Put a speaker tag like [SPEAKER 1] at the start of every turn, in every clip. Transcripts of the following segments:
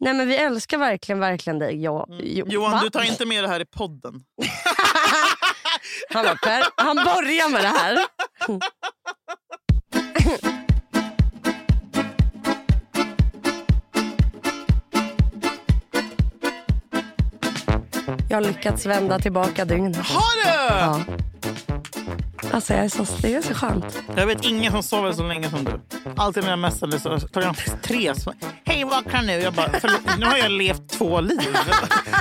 [SPEAKER 1] Nej men vi älskar verkligen, verkligen dig. Jag, jo,
[SPEAKER 2] Johan,
[SPEAKER 1] va?
[SPEAKER 2] du tar inte med det här i podden.
[SPEAKER 1] Han bara, per, han börjar med det här. Jag har lyckats vända tillbaka dygnet.
[SPEAKER 2] Har du?
[SPEAKER 1] Ja. Alltså jag är så, det är så skönt.
[SPEAKER 2] Jag vet ingen som sover så länge som du. Alltid när jag messade så klockan tre. Så, Hej, vakna nu. Jag bara, förlåt, nu har jag levt två liv.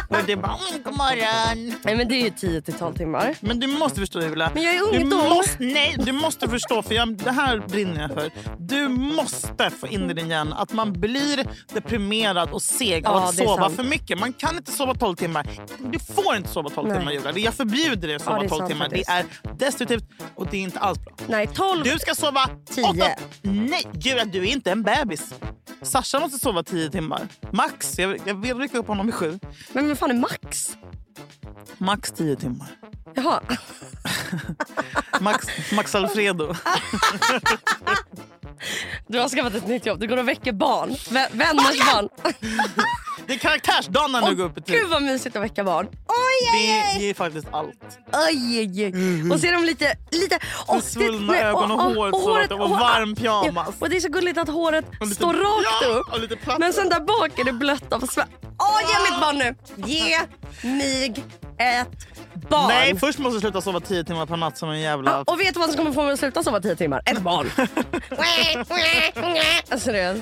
[SPEAKER 2] Och det bara, mm, god morgon.
[SPEAKER 1] Nej men det är ju 10 till 12 timmar.
[SPEAKER 2] Men du måste förstå Julia.
[SPEAKER 1] Men jag är
[SPEAKER 2] du
[SPEAKER 1] ung då.
[SPEAKER 2] Måste, nej, du måste förstå. För jag, det här brinner jag för. Du måste få in i din hjärna att man blir deprimerad och seg av
[SPEAKER 1] Ja,
[SPEAKER 2] att
[SPEAKER 1] det är
[SPEAKER 2] sova
[SPEAKER 1] sant.
[SPEAKER 2] för mycket. Man kan inte sova 12 timmar. Du får inte sova 12
[SPEAKER 1] Nej.
[SPEAKER 2] timmar Julia. Jag förbjuder dig att
[SPEAKER 1] Ja,
[SPEAKER 2] sova
[SPEAKER 1] det är
[SPEAKER 2] 12
[SPEAKER 1] sant
[SPEAKER 2] timmar. Det
[SPEAKER 1] faktiskt.
[SPEAKER 2] är destruktivt och det är inte alls bra.
[SPEAKER 1] Nej 12.
[SPEAKER 2] Du ska sova
[SPEAKER 1] Tio.
[SPEAKER 2] åtta- Nej, Julia, du är inte en bebis. Sasha måste sova tio timmar. Max. Jag, jag vill rycka upp honom vid sju.
[SPEAKER 1] Men vad fan är max?
[SPEAKER 2] Max tio timmar.
[SPEAKER 1] Jaha.
[SPEAKER 2] Max, Max Alfredo.
[SPEAKER 1] Du har skaffat ett nytt jobb. Du går och väcker barn. Vä- vänners barn.
[SPEAKER 2] Det är karaktärsdagen när du går upp i tid.
[SPEAKER 1] Gud vad mysigt att väcka barn.
[SPEAKER 2] Det ger faktiskt allt.
[SPEAKER 1] Aj, aj, aj. Och så är de lite... lite åh, det-
[SPEAKER 2] svullna
[SPEAKER 1] nej,
[SPEAKER 2] ögon och
[SPEAKER 1] åh, åh,
[SPEAKER 2] håret så att det var
[SPEAKER 1] åh,
[SPEAKER 2] varm
[SPEAKER 1] ja.
[SPEAKER 2] pyjamas.
[SPEAKER 1] Och det är så gulligt att håret
[SPEAKER 2] Och lite-
[SPEAKER 1] står rakt
[SPEAKER 2] ja,
[SPEAKER 1] upp.
[SPEAKER 2] Och lite platt.
[SPEAKER 1] Men sen där bak är det blött av svett. Åh, ge mig ett barn nu! Ge mig ett barn!
[SPEAKER 2] Nej, först måste du sluta sova tio timmar per natt som en jävla...
[SPEAKER 1] Ja, Ah, och vet du vad som kommer få mig att sluta sova tio timmar? Ett barn! alltså, det-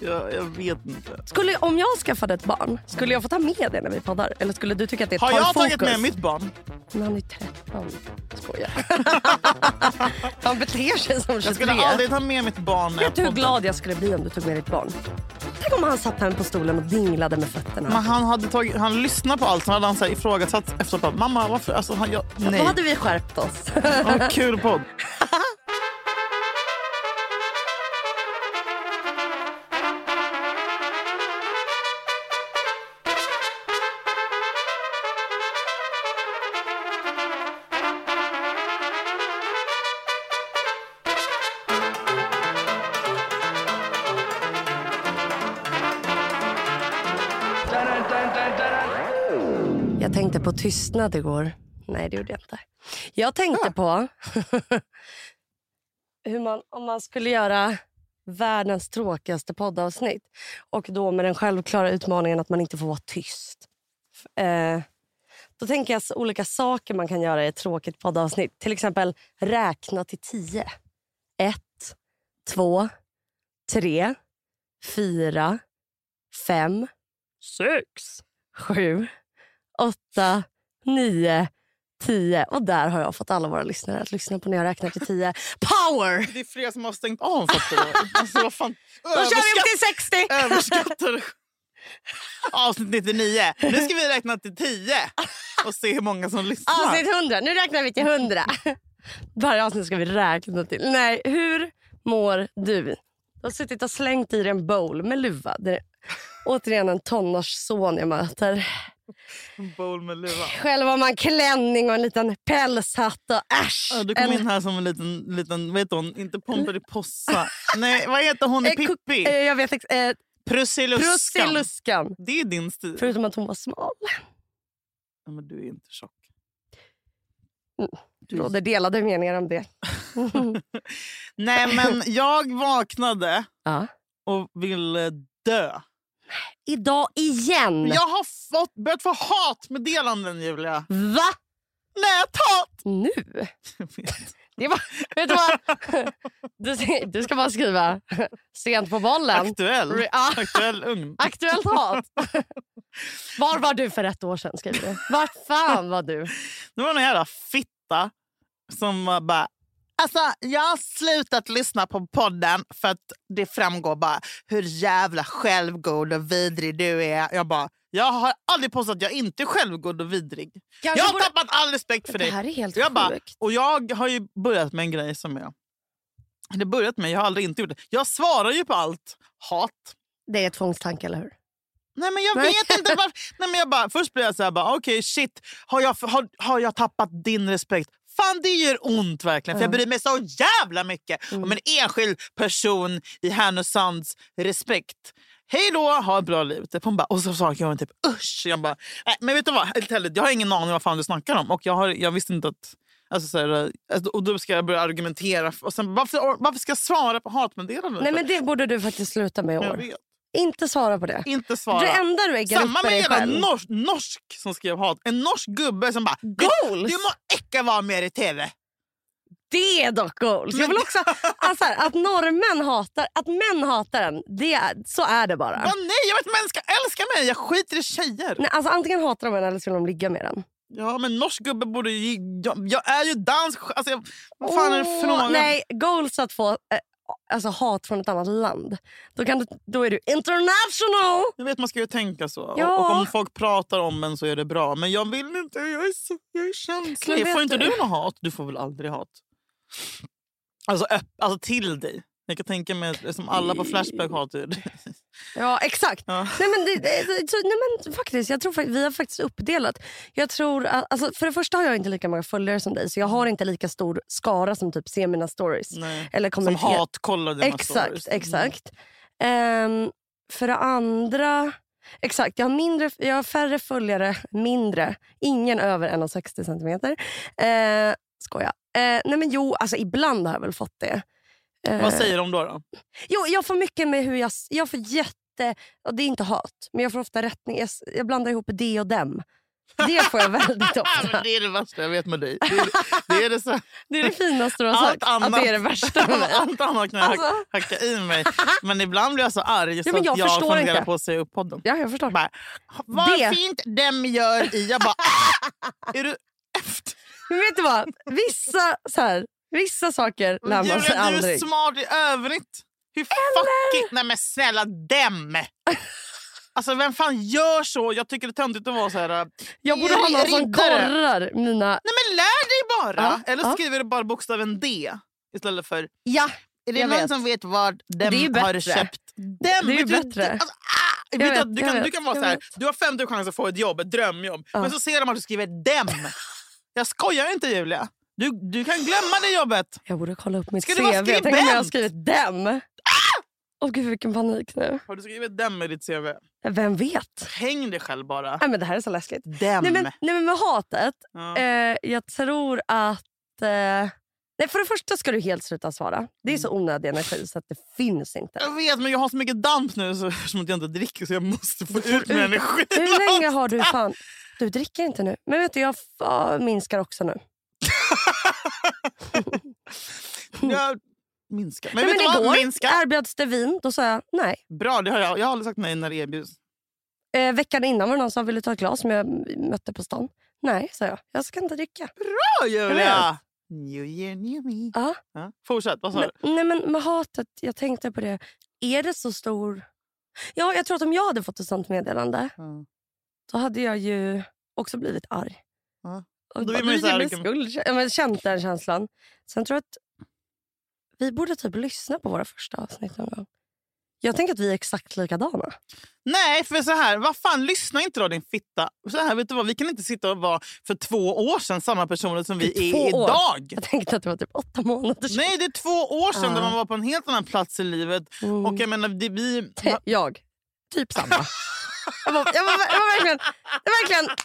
[SPEAKER 2] Jag, jag vet inte.
[SPEAKER 1] skulle, om jag skaffade ett barn, skulle jag få ta med det när vi poddar? Eller skulle du tycka att det tar
[SPEAKER 2] Har jag
[SPEAKER 1] fokus?
[SPEAKER 2] tagit med mitt barn?
[SPEAKER 1] Men han är 13. Skojar. han beter sig som 23.
[SPEAKER 2] Jag skulle aldrig ta med mitt barn. när
[SPEAKER 1] Vet du hur
[SPEAKER 2] poddar.
[SPEAKER 1] glad jag skulle bli om du tog med ditt barn? Tänk om han satt här på stolen och dinglade med fötterna.
[SPEAKER 2] Men han, hade tagit, han lyssnade på allt, sen hade han så här ifrågasatt efteråt. bara, Mamma, varför? Alltså, han, jag, nej.
[SPEAKER 1] Då hade vi skärpt oss.
[SPEAKER 2] Vad kul podd.
[SPEAKER 1] jag tänkte på tystnad igår. Nej, det gjorde jag inte. Jag tänkte på hur man, om man skulle göra världens tråkigaste poddavsnitt och då med den självklara utmaningen att man inte får vara tyst. F- Eh, då tänker jag så- olika saker man kan göra i ett tråkigt poddavsnitt. Till exempel räkna till tio. Ett, två, tre, fyra, fem, sex, sju, åtta, nio, tio. Och där har jag fått alla våra lyssnare att lyssna på när jag räknar till tio. Power!
[SPEAKER 2] Det är flera som har stängt av. Fattar du? Alltså, vad fan?
[SPEAKER 1] Då kör vi upp till 60!
[SPEAKER 2] Överskattar du? Avsnitt 99. Nu ska vi räkna till 10 och se hur många som lyssnar.
[SPEAKER 1] Avsnitt 100. Nu räknar vi till 100. Varje avsnitt ska vi räkna till. Nej, hur mår du? Du har suttit och slängt i dig en bowl med luva. Det är återigen en tonårsson jag möter.
[SPEAKER 2] En bowl med luva.
[SPEAKER 1] Själv har man klänning och en liten pälshatt. Och äsch!
[SPEAKER 2] Ja, Du kom
[SPEAKER 1] en,
[SPEAKER 2] in här som en liten, liten vet hon, inte Pomperipossa. Nej, vad heter hon i
[SPEAKER 1] eh, ko- eh,
[SPEAKER 2] Pippi?
[SPEAKER 1] jag vet ex- eh,
[SPEAKER 2] Prussiluskan.
[SPEAKER 1] Prussiluskan.
[SPEAKER 2] Det är din stil.
[SPEAKER 1] Förutom att hon var smal.
[SPEAKER 2] Ja, Men du är inte tjock.
[SPEAKER 1] Det råder delade meningar om det.
[SPEAKER 2] Nej, men jag vaknade
[SPEAKER 1] Ja.
[SPEAKER 2] och ville dö.
[SPEAKER 1] Idag igen.
[SPEAKER 2] Jag har fått, börjat få hatmeddelanden, Julia.
[SPEAKER 1] Va?
[SPEAKER 2] Näthat!
[SPEAKER 1] Nu? Det var, vet du vad? Du, du ska bara skriva sent på bollen.
[SPEAKER 2] Aktuell.
[SPEAKER 1] Re- ah,
[SPEAKER 2] Aktuell ugn.
[SPEAKER 1] aktuellt hat. Var var du för ett år sedan? Skriver du. Var fan var du?
[SPEAKER 2] Det var någon jävla fitta som var bara... Alltså, jag har slutat lyssna på podden för att det framgår bara hur jävla självgod och vidrig du är. Jag bara, jag har aldrig påstått att jag inte är självgod och vidrig.
[SPEAKER 1] Kanske
[SPEAKER 2] Jag har
[SPEAKER 1] Alltså, borde-
[SPEAKER 2] tappat all respekt för
[SPEAKER 1] Det
[SPEAKER 2] dig.
[SPEAKER 1] här är helt
[SPEAKER 2] Jag bara,
[SPEAKER 1] sjukt.
[SPEAKER 2] och jag har ju börjat med en grej som jag... Det börjat med, jag har aldrig inte gjort det. Jag svarar ju på allt hat.
[SPEAKER 1] Det är ett tvångstanke, eller hur?
[SPEAKER 2] Nej men jag
[SPEAKER 1] Nej.
[SPEAKER 2] vet inte varför. Nej, men jag bara, först blev jag så här, bara, okej shit, har jag, har, har jag tappat din respekt? Fan det gör ont verkligen för jag
[SPEAKER 1] Mm.
[SPEAKER 2] bryr mig så jävla mycket om en enskild person i Härnösands respekt. hej då, ha ett bra liv. Typ. Hon bara, och så sa jag typ usch. Jag bara, nej men vet du vad, helt ärligt, jag har ingen aning vad fan du snackar om. Och jag, har, jag visste inte att... Alltså, så här, alltså, och då ska jag börja argumentera. Och sen, varför, varför ska jag svara på hatmeddelanden?
[SPEAKER 1] Nej, men det borde du faktiskt sluta med i
[SPEAKER 2] för? jag
[SPEAKER 1] år.
[SPEAKER 2] vet.
[SPEAKER 1] Inte svara på det.
[SPEAKER 2] Inte svara.
[SPEAKER 1] Det enda du äggar
[SPEAKER 2] Samma
[SPEAKER 1] upp är
[SPEAKER 2] med
[SPEAKER 1] dig
[SPEAKER 2] hela
[SPEAKER 1] själv.
[SPEAKER 2] norsk, norsk som skrev hat. En norsk gubbe som bara... "Du-
[SPEAKER 1] Goals!
[SPEAKER 2] Du må icke vara med i tv.
[SPEAKER 1] Det är dock goals. Jag vill också, alltså här, att norrmän hatar, att män hatar en, det är, så är det bara.
[SPEAKER 2] Bara, nej, jag vet att män ska älska mig. Jag skiter i tjejer.
[SPEAKER 1] Nej, alltså, antingen hatar de en eller så vill de ligga med den.
[SPEAKER 2] Ja, men norsk gubbe borde ju... Jag, jag är ju dansk. Alltså, jag, vad fan är det för fråga?
[SPEAKER 1] Nej, goals att få eh, alltså, hat från ett annat land. Då, kan du, då är du international!
[SPEAKER 2] Jag vet, man ska ju tänka så.
[SPEAKER 1] Ja.
[SPEAKER 2] Och, och om folk pratar om en så är det bra. Men jag vill inte. Jag är, så, jag är
[SPEAKER 1] Men
[SPEAKER 2] känslig.
[SPEAKER 1] vet
[SPEAKER 2] Får inte
[SPEAKER 1] du-
[SPEAKER 2] du något hat? Du får väl aldrig hat? Alltså, öpp, alltså till dig. Jag kan tänka mig som alla på Flashback hatar ju dig.
[SPEAKER 1] Ja, exakt.
[SPEAKER 2] Ja.
[SPEAKER 1] Nej, men, det, det, så, nej, men faktiskt, jag tror fakt- vi har faktiskt uppdelat. Jag tror att, alltså, för det första har jag inte lika många följare som dig så jag har inte lika stor skara som typ ser mina stories.
[SPEAKER 2] Nej.
[SPEAKER 1] Eller
[SPEAKER 2] Mm. Som
[SPEAKER 1] kommenterar.
[SPEAKER 2] hatkollar dina
[SPEAKER 1] Exakt,
[SPEAKER 2] stories. Mm.
[SPEAKER 1] exakt. Ehm, för det andra, exakt, jag har, mindre, jag har färre följare, mindre. Ingen över 1,60 centimeter. Uh, skoja. Eh, nej men jo, alltså ibland har jag väl fått det. Eh,
[SPEAKER 2] Vad säger de då? då?
[SPEAKER 1] Jo, jag får mycket med hur jag... s- Jag får jätte... Och det är inte hat, men jag får ofta rättning. Jag, s- jag blandar ihop det och dem. Det får jag väldigt
[SPEAKER 2] Ah, men
[SPEAKER 1] ofta.
[SPEAKER 2] det är det värsta jag vet med dig. Det är det, är det så.
[SPEAKER 1] Det är det finaste du har
[SPEAKER 2] Allt
[SPEAKER 1] sagt. Att det är det
[SPEAKER 2] annat.
[SPEAKER 1] värsta med mig.
[SPEAKER 2] Allt annat kan jag
[SPEAKER 1] Alltså.
[SPEAKER 2] hack- hacka i mig. Men ibland blir jag så arg så
[SPEAKER 1] men jag
[SPEAKER 2] att jag
[SPEAKER 1] förstår
[SPEAKER 2] funderar
[SPEAKER 1] inte.
[SPEAKER 2] på att säga upp podden.
[SPEAKER 1] Ja, jag förstår.
[SPEAKER 2] Bara, vad
[SPEAKER 1] Det-
[SPEAKER 2] fint dem gör i. Jag bara... "Ah, är du efter?
[SPEAKER 1] Men vet du vad? Vissa, så här, vissa saker lär man sig
[SPEAKER 2] Julia, du är
[SPEAKER 1] alltså, aldrig.
[SPEAKER 2] smart i övrigt. Hur fucking... Nej men snälla dem! Alltså vem fan gör så? Jag tycker det är töntigt att vara så här... äh,
[SPEAKER 1] Jag borde ha någon som
[SPEAKER 2] riddare.
[SPEAKER 1] korrar mina...
[SPEAKER 2] Nej men lär dig bara!
[SPEAKER 1] Ja,
[SPEAKER 2] Eller
[SPEAKER 1] ja.
[SPEAKER 2] skriver du bara bokstaven D istället för...
[SPEAKER 1] Ja,
[SPEAKER 2] Är det
[SPEAKER 1] Jag
[SPEAKER 2] någon
[SPEAKER 1] vet.
[SPEAKER 2] som vet vad dem
[SPEAKER 1] Det är ju
[SPEAKER 2] har
[SPEAKER 1] bättre.
[SPEAKER 2] köpt? Dem,
[SPEAKER 1] det är ju
[SPEAKER 2] vet du-
[SPEAKER 1] bättre.
[SPEAKER 2] Alltså, ah, vet du
[SPEAKER 1] vet,
[SPEAKER 2] att du,
[SPEAKER 1] jag
[SPEAKER 2] kan, du
[SPEAKER 1] vet,
[SPEAKER 2] kan vara
[SPEAKER 1] jag
[SPEAKER 2] så här,
[SPEAKER 1] vet.
[SPEAKER 2] du har 50 chans att få ett jobb, ett drömjobb.
[SPEAKER 1] Ja.
[SPEAKER 2] Men så ser de att du skriver dem. Jag skojar inte Julia. Du, du kan glömma det jobbet.
[SPEAKER 1] Jag borde kolla upp mitt
[SPEAKER 2] Ska
[SPEAKER 1] CV.
[SPEAKER 2] du vara
[SPEAKER 1] Tänk om jag har
[SPEAKER 2] skribent? Ah!
[SPEAKER 1] skrivit dem. Åh gud, vilken panik nu.
[SPEAKER 2] Har du skrivit dem i ditt CV?
[SPEAKER 1] Vem vet?
[SPEAKER 2] Häng dig själv bara.
[SPEAKER 1] Nej, men det här är så läskigt.
[SPEAKER 2] Dem.
[SPEAKER 1] Äh, Nej men, nej, men med hatet.
[SPEAKER 2] ja.
[SPEAKER 1] Eh, jag tror att... Eh, nej, för det första ska du helt sluta svara. Det är så
[SPEAKER 2] Mm.
[SPEAKER 1] onödig energi så att det finns inte.
[SPEAKER 2] Jag vet, men jag har så mycket damp nu så, som att jag inte dricker så jag måste få
[SPEAKER 1] får
[SPEAKER 2] ut min
[SPEAKER 1] ut-
[SPEAKER 2] energi.
[SPEAKER 1] Hur länge har du fan... Du dricker inte nu. Men vet du, jag f- ah, minskar också nu.
[SPEAKER 2] Jag minskar. Men
[SPEAKER 1] nej,
[SPEAKER 2] vet
[SPEAKER 1] men
[SPEAKER 2] du vad?
[SPEAKER 1] igår
[SPEAKER 2] Minska.
[SPEAKER 1] erbjöds det vin. Då sa jag nej.
[SPEAKER 2] Bra, det har jag. Jag har aldrig sagt nej när det erbjuds.
[SPEAKER 1] Eh, veckan innan var det någon som ville ta ett glas som jag m- mötte på stan. Nej, sa jag. Jag ska inte dricka.
[SPEAKER 2] Åh,
[SPEAKER 1] Jag
[SPEAKER 2] Julia! New year, new me.
[SPEAKER 1] Ja.
[SPEAKER 2] Ja. Fortsätt, vad sa
[SPEAKER 1] Men,
[SPEAKER 2] du?
[SPEAKER 1] nej, men med hatet, jag tänkte på det. Är det så stor... Ja, jag tror att om jag hade fått ett sånt meddelande
[SPEAKER 2] Ja.
[SPEAKER 1] då hade jag ju också blivit arg.
[SPEAKER 2] Ja.
[SPEAKER 1] Och
[SPEAKER 2] Då
[SPEAKER 1] bara,
[SPEAKER 2] blir man ju
[SPEAKER 1] "Du
[SPEAKER 2] så här,
[SPEAKER 1] ger mig
[SPEAKER 2] vilken-
[SPEAKER 1] skuld." Ja, men känt den känslan. Sen tror jag att vi borde typ lyssna på våra första avsnitt någon gång. Jag tänker att vi är exakt likadana.
[SPEAKER 2] Nej, för så här, vad fan, lyssna inte då din fitta. Så här, vet du vad, vi kan inte sitta och vara för två år sedan samma personer som
[SPEAKER 1] För
[SPEAKER 2] vi är
[SPEAKER 1] två år.
[SPEAKER 2] idag.
[SPEAKER 1] Jag tänkte att det var typ åtta månader sedan.
[SPEAKER 2] Nej, det är två år sedan
[SPEAKER 1] Ja.
[SPEAKER 2] där man var på en helt annan plats i livet.
[SPEAKER 1] Mm.
[SPEAKER 2] Och jag menar, det, vi...
[SPEAKER 1] Te- Jag. Typ samma. jag, var, jag, var, jag var verkligen... Jag var verkligen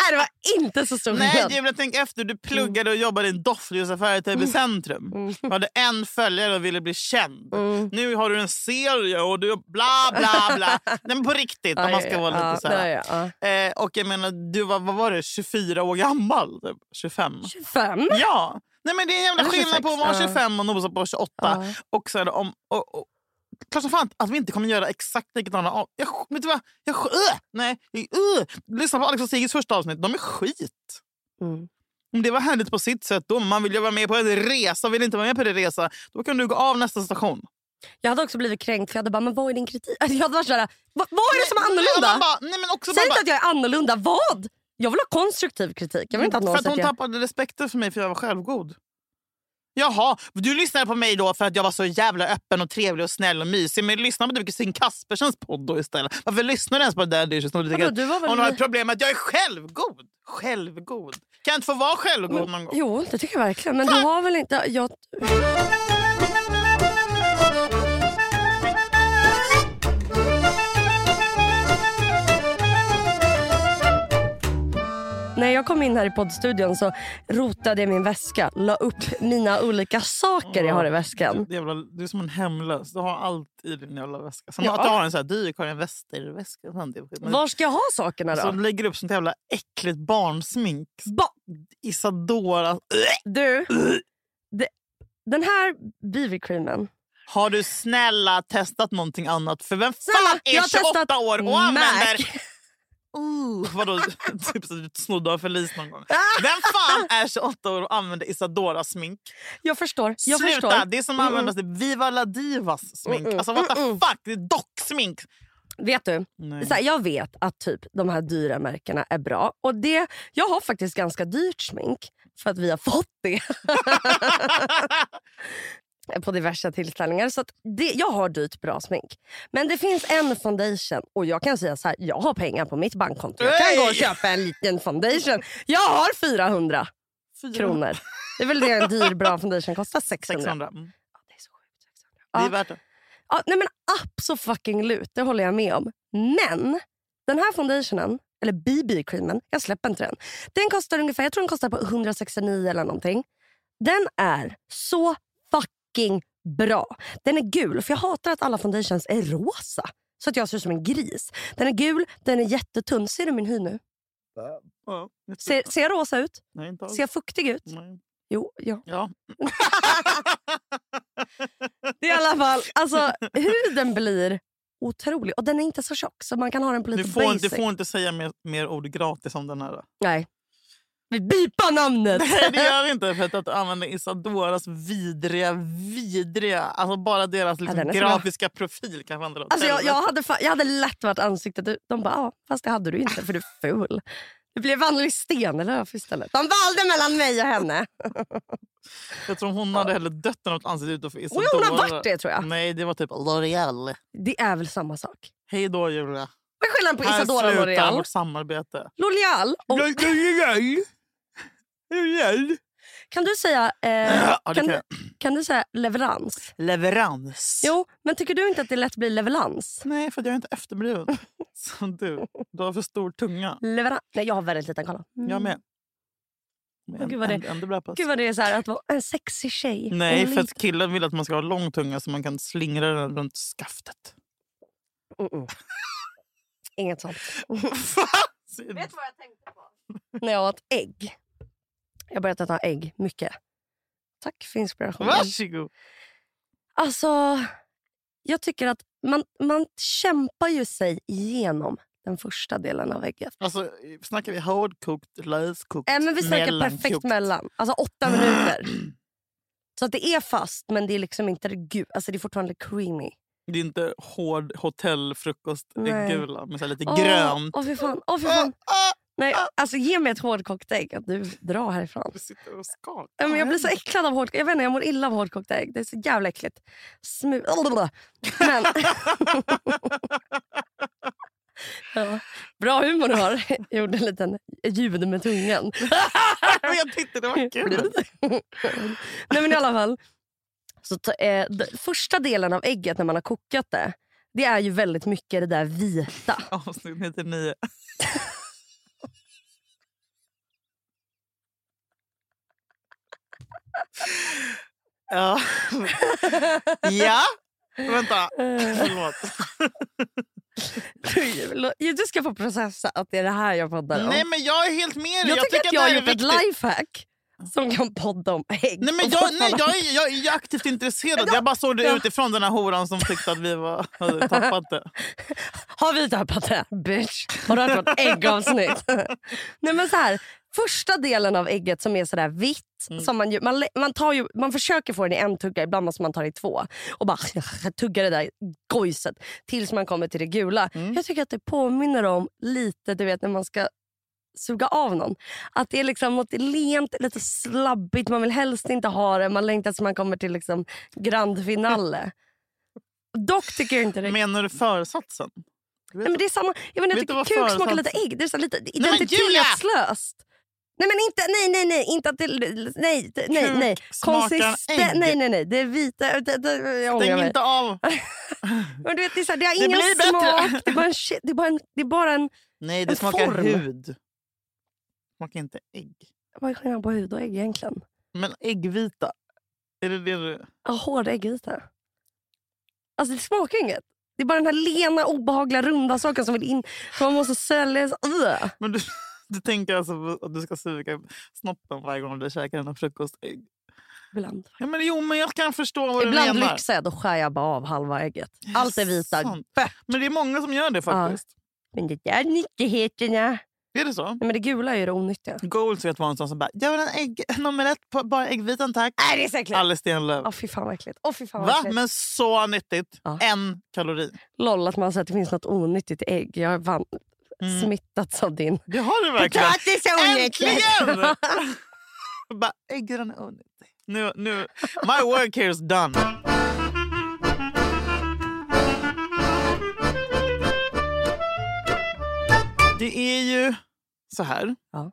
[SPEAKER 1] nej, det var inte så stor
[SPEAKER 2] Nej,
[SPEAKER 1] skillnad.
[SPEAKER 2] Julia, tänk efter. Du pluggade och jobbade i en doftljusaffär i Täby centrum.
[SPEAKER 1] Mm.
[SPEAKER 2] Du hade en följare och ville bli känd.
[SPEAKER 1] Mm.
[SPEAKER 2] Nu har du en serie och du bla bla bla. Nej, men på riktigt, om man ska vara
[SPEAKER 1] ja,
[SPEAKER 2] lite så här.
[SPEAKER 1] nej, ja.
[SPEAKER 2] Eh, och jag menar, du var, vad var det, 24 år gammal? Typ. 25?
[SPEAKER 1] 25?
[SPEAKER 2] Ja! Nej, men det är en jävla
[SPEAKER 1] Eller
[SPEAKER 2] skillnad på att
[SPEAKER 1] 26,
[SPEAKER 2] vara
[SPEAKER 1] ja.
[SPEAKER 2] 25 och nosa på 28.
[SPEAKER 1] Ja.
[SPEAKER 2] Och så är det om, och, och, klart som fan att vi inte kommer göra exakt likadana av... Jag, sk- vet du vad? Jag, sk- öh! nej, öh! Lyssna på Alex och Sigges första avsnitt. De är skit.
[SPEAKER 1] Mm.
[SPEAKER 2] Om Det var härligt på sitt sätt. Då. Man vill ju vara med på en resa. Vill inte vara med på en resa, då kan du gå av nästa station.
[SPEAKER 1] Jag hade också blivit kränkt för jag hade bara, men vad är din kritik? Alltså, jag hade varit såhär, vad, vad är det som är
[SPEAKER 2] Nej,
[SPEAKER 1] annorlunda?
[SPEAKER 2] man bara, nej, men också
[SPEAKER 1] Säg
[SPEAKER 2] man bara,
[SPEAKER 1] inte att jag är annorlunda. Vad? Jag vill ha konstruktiv kritik. Jag vill inte att någon
[SPEAKER 2] Mm, för att hon
[SPEAKER 1] säger att
[SPEAKER 2] tappade respekten för mig för jag var självgod. Jaha, du lyssnade på mig då för att jag var så jävla öppen och trevlig och snäll och mysig. Men lyssna på typ Kristin Kaspersens podd då istället. Varför lyssnar du ens på det där dishes? Du
[SPEAKER 1] jag...
[SPEAKER 2] tycker
[SPEAKER 1] Vadå, du var
[SPEAKER 2] att
[SPEAKER 1] väl...
[SPEAKER 2] hon har ett problem med att jag är självgod. Självgod. Kan jag inte få vara självgod någon gång?
[SPEAKER 1] Jo, det tycker jag verkligen. Men du har väl inte... Jag... jag kom in här i poddstudion så rotade jag min väska. La upp mina olika saker jag har i väskan.
[SPEAKER 2] Du, jävla, du är som en hemlös. Du har allt i din jävla väska. Som
[SPEAKER 1] Ja.
[SPEAKER 2] att du har en så här dyr Karin Wester-väska. sånt, det är skit. Men-
[SPEAKER 1] Var ska jag ha sakerna då?
[SPEAKER 2] Som lägger upp sånt jävla äckligt barnsmink.
[SPEAKER 1] Ba-
[SPEAKER 2] Isadora.
[SPEAKER 1] Du, det, den här BB-creamen.
[SPEAKER 2] Har du snälla testat någonting annat? För vem
[SPEAKER 1] Snälla,
[SPEAKER 2] fan
[SPEAKER 1] jag
[SPEAKER 2] är
[SPEAKER 1] har testat
[SPEAKER 2] 28 år och
[SPEAKER 1] Mac.
[SPEAKER 2] använder... Uh, vadå, typ så att du snodde av Felice någon gång.
[SPEAKER 1] Ah!
[SPEAKER 2] Vem fan är 28 år och använder Isadora-smink?
[SPEAKER 1] Jag förstår. Jag
[SPEAKER 2] Sluta!
[SPEAKER 1] förstår.
[SPEAKER 2] Det är som att
[SPEAKER 1] Mm-mm.
[SPEAKER 2] använda mm. Viva la Divas-smink.
[SPEAKER 1] Mm-mm.
[SPEAKER 2] Alltså what the
[SPEAKER 1] Mm-mm.
[SPEAKER 2] fuck? Det är docksmink.
[SPEAKER 1] Vet du,
[SPEAKER 2] Nej.
[SPEAKER 1] så här, jag vet att typ de här dyra märkena är bra. Och det, Jag har faktiskt ganska dyrt smink för att vi har fått det på diverse tillställningar. Så att det, jag har dyrt bra smink. Men det finns en foundation och jag kan säga så här, jag har pengar på mitt bankkonto. Jag kan
[SPEAKER 2] Hey!
[SPEAKER 1] gå och köpa en liten foundation. Jag har 400 kronor. Det är väl det en dyr bra foundation kostar, 600.
[SPEAKER 2] 600. Mm.
[SPEAKER 1] Ja, det är så sjukt. 600.
[SPEAKER 2] Det är
[SPEAKER 1] Ja.
[SPEAKER 2] värt det.
[SPEAKER 1] Ja, nej men absolut fucking lut, det håller jag med om. Men den här foundationen, eller BB-creamen, jag släpper inte den. Den kostar ungefär, jag tror den kostar på 169 eller någonting. Den är så fucking bra. Den är gul, för jag hatar att alla foundations är rosa. Så att jag ser ut som en gris. Den är gul, den är jättetunn. Ser du min hy nu?
[SPEAKER 2] Ja, jag tror-
[SPEAKER 1] Ser, ser jag rosa ut?
[SPEAKER 2] Nej, inte alls.
[SPEAKER 1] Ser jag fuktig ut?
[SPEAKER 2] Nej.
[SPEAKER 1] Jo, ja.
[SPEAKER 2] Ja.
[SPEAKER 1] Det är i alla fall, alltså huden blir otrolig. Och den är inte så tjock så man kan ha den på lite
[SPEAKER 2] Du får,
[SPEAKER 1] basic.
[SPEAKER 2] du får inte säga mer, mer ord gratis om den här.
[SPEAKER 1] Nej. Vi bipar namnet!
[SPEAKER 2] Nej, det gör vi inte. För att, att använda Isadoras vidriga, vidriga... Alltså bara deras liksom,
[SPEAKER 1] den är så bra.
[SPEAKER 2] grafiska profil kan vandra åt
[SPEAKER 1] Alltså jag, jag,
[SPEAKER 2] helvete.
[SPEAKER 1] hade, fa- jag hade lätt varit ansiktet ut. De bara, ja, fast det hade du inte för du är ful. Det blev Anneli Stenlöf istället. De valde mellan mig och henne.
[SPEAKER 2] jag tror hon hade hellre dött än att anse ut för
[SPEAKER 1] Och
[SPEAKER 2] Isadora.
[SPEAKER 1] hon har varit det tror jag.
[SPEAKER 2] Nej, det var typ L'Oreal.
[SPEAKER 1] Det är väl samma sak.
[SPEAKER 2] Hej då, Julia.
[SPEAKER 1] Vad är skillnaden på Isadora och
[SPEAKER 2] slutar
[SPEAKER 1] L'Oreal?
[SPEAKER 2] vårt samarbete.
[SPEAKER 1] L'Oreal och...
[SPEAKER 2] L'Oreal. L'Oreal.
[SPEAKER 1] Kan du säga... Eh,
[SPEAKER 2] Ja,
[SPEAKER 1] kan,
[SPEAKER 2] det kan
[SPEAKER 1] du,
[SPEAKER 2] jag.
[SPEAKER 1] kan du säga leverans?
[SPEAKER 2] Leverans.
[SPEAKER 1] Jo, men tycker du inte att det lätt blir leverans?
[SPEAKER 2] Nej, för att jag är inte efterbrun. Som du. Du har för stor tunga.
[SPEAKER 1] Leverans? Nej, jag har väldigt liten. Kolla. Mm.
[SPEAKER 2] Jag med. Men
[SPEAKER 1] Åh, gud, vad
[SPEAKER 2] änd- ändå bra på att-
[SPEAKER 1] Gud vad det är så här att vara en sexig tjej.
[SPEAKER 2] Nej,
[SPEAKER 1] En
[SPEAKER 2] för att killen vill att man ska ha lång tunga så man kan slingra den runt skaftet.
[SPEAKER 1] Mm-mm. Mm, Inget sånt.
[SPEAKER 2] Säger-
[SPEAKER 1] vad jag tänkte på? När jag åt ägg. Jag började äta ägg mycket. Tack för inspirationen.
[SPEAKER 2] Varsågod.
[SPEAKER 1] Alltså, jag tycker att man, man kämpar ju sig igenom den första delen av ägget.
[SPEAKER 2] Alltså, snackar vi hårdkokt, löskokt,
[SPEAKER 1] Äh, men vi snackar perfekt
[SPEAKER 2] mellankokt?
[SPEAKER 1] mellan. Alltså åtta minuter. Så att det är fast, men det är liksom inte det gul. Alltså det är fortfarande creamy.
[SPEAKER 2] Det är inte hård
[SPEAKER 1] Nej.
[SPEAKER 2] hotellfrukostgula med så här lite
[SPEAKER 1] Åh,
[SPEAKER 2] grönt.
[SPEAKER 1] Åh, fy fan. Åh, fy
[SPEAKER 2] Ah,
[SPEAKER 1] fan.
[SPEAKER 2] ah,
[SPEAKER 1] Nej, alltså ge mig ett hårdkokt ägg. Att du drar härifrån.
[SPEAKER 2] du sitter och skakar.
[SPEAKER 1] Ja, men jag blir så äcklad av hårdkokt. Jag vet inte, jag mår illa av hårdkokt ägg. Det är så jävla äckligt. Smu... Men... ja. Bra humor du har. Jag gjorde en liten ljud med tungan.
[SPEAKER 2] Men jag tyckte det var kul.
[SPEAKER 1] Nej men i alla fall. Så ta, eh, d- första delen av ägget när man har kokat det. Det är ju väldigt mycket det där vita.
[SPEAKER 2] Avsnitt 99. ja. ja. Vänta.
[SPEAKER 1] Eh,
[SPEAKER 2] Förlåt.
[SPEAKER 1] du ska få processa att det är det här jag poddar om.
[SPEAKER 2] Nej, men jag är helt med dig.
[SPEAKER 1] jag, tycker att jag
[SPEAKER 2] det
[SPEAKER 1] har
[SPEAKER 2] här är
[SPEAKER 1] gjort ett
[SPEAKER 2] viktigt.
[SPEAKER 1] lifehack som kan podda om ägg.
[SPEAKER 2] Nej, men
[SPEAKER 1] och
[SPEAKER 2] jag,
[SPEAKER 1] vad
[SPEAKER 2] nej,
[SPEAKER 1] fan-
[SPEAKER 2] jag, är, jag är aktivt intresserad. Jag bara såg det
[SPEAKER 1] Ja.
[SPEAKER 2] utifrån, den här horan som tyckte att vi var, hade tappat det.
[SPEAKER 1] Har vi tappat det? Bitch. Har du hört vårt äggavsnitt? nej, men så här, första delen av ägget som är sådär vitt.
[SPEAKER 2] Mm.
[SPEAKER 1] Som man, ju, man, lä- man, tar ju, man försöker få den i en tugga, ibland måste man ta det i två. Och bara tugga det där gojset tills man kommer till det gula.
[SPEAKER 2] Mm.
[SPEAKER 1] Jag tycker att det påminner om lite du vet när man ska suga av någon. Att det är liksom något lent, lite slabbigt. Man vill helst inte ha det. Man längtar tills man kommer till liksom grand finale. Dock tycker jag inte det
[SPEAKER 2] Menar du föresatsen? Du vet
[SPEAKER 1] Nej, men det är samma. Jag, menar, jag
[SPEAKER 2] Vet
[SPEAKER 1] tycker
[SPEAKER 2] du vad
[SPEAKER 1] kuk smakar
[SPEAKER 2] företag-
[SPEAKER 1] lite ägg. Det är så lite
[SPEAKER 2] men Julia!
[SPEAKER 1] identitetslöst. Nej, men inte, nej, nej, nej. Inte att det, nej, det- nej,
[SPEAKER 2] Kuk
[SPEAKER 1] nej.
[SPEAKER 2] smakar ägg.
[SPEAKER 1] Nej, nej, nej. Det är vita. Det, det, jag ångrar
[SPEAKER 2] Stäng
[SPEAKER 1] mig.
[SPEAKER 2] inte av.
[SPEAKER 1] Men du vet, det, är så här, det har
[SPEAKER 2] Det
[SPEAKER 1] ingen
[SPEAKER 2] blir bättre.
[SPEAKER 1] smak. Det är bara en... shit- Det är bara en, det är bara en
[SPEAKER 2] Nej, det
[SPEAKER 1] En
[SPEAKER 2] smakar
[SPEAKER 1] form.
[SPEAKER 2] hud. Smakar inte ägg.
[SPEAKER 1] Vad är skillnaden på hud och ägg egentligen?
[SPEAKER 2] Men äggvita. Är det det du...
[SPEAKER 1] Ja, hård äggvita. Alltså det smakar inget. Det är bara den här lena, obehagliga, runda saken som vill in. Som man måste sälja. Så- Ugh.
[SPEAKER 2] Men du, du tänker alltså på att du ska suga snoppen varje gång du käkar dina frukostägg?
[SPEAKER 1] Ibland.
[SPEAKER 2] Ja, men, jo, men jag kan förstå vad du
[SPEAKER 1] Ibland
[SPEAKER 2] menar.
[SPEAKER 1] lyxar jag, då skär jag bara av halva ägget.
[SPEAKER 2] Det är
[SPEAKER 1] Allt är vita.
[SPEAKER 2] sant. Men det är många som gör det faktiskt.
[SPEAKER 1] Men det där är nyttigheterna.
[SPEAKER 2] Är det så?
[SPEAKER 1] Nej, men det gula är ju det onyttiga.
[SPEAKER 2] Goals vet var en sån som bara, jag vill ha en ägg, en omelett på bara äggvitan tack.
[SPEAKER 1] Nej, det är så äckligt.
[SPEAKER 2] Alice Stenlöf.
[SPEAKER 1] Ja, fy fan vad äckligt. Åh, fy fan vad
[SPEAKER 2] Va?
[SPEAKER 1] äckligt.
[SPEAKER 2] Men så nyttigt.
[SPEAKER 1] Ja.
[SPEAKER 2] En kalori.
[SPEAKER 1] Loll att man säger att det finns något onyttigt i ägg. Jag har fan
[SPEAKER 2] Mm.
[SPEAKER 1] smittats av din.
[SPEAKER 2] Det har du verkligen.
[SPEAKER 1] är
[SPEAKER 2] Äntligen! bara, äggran är onyttig. Nu, nu. My work here is done. Det är ju så här
[SPEAKER 1] Ja.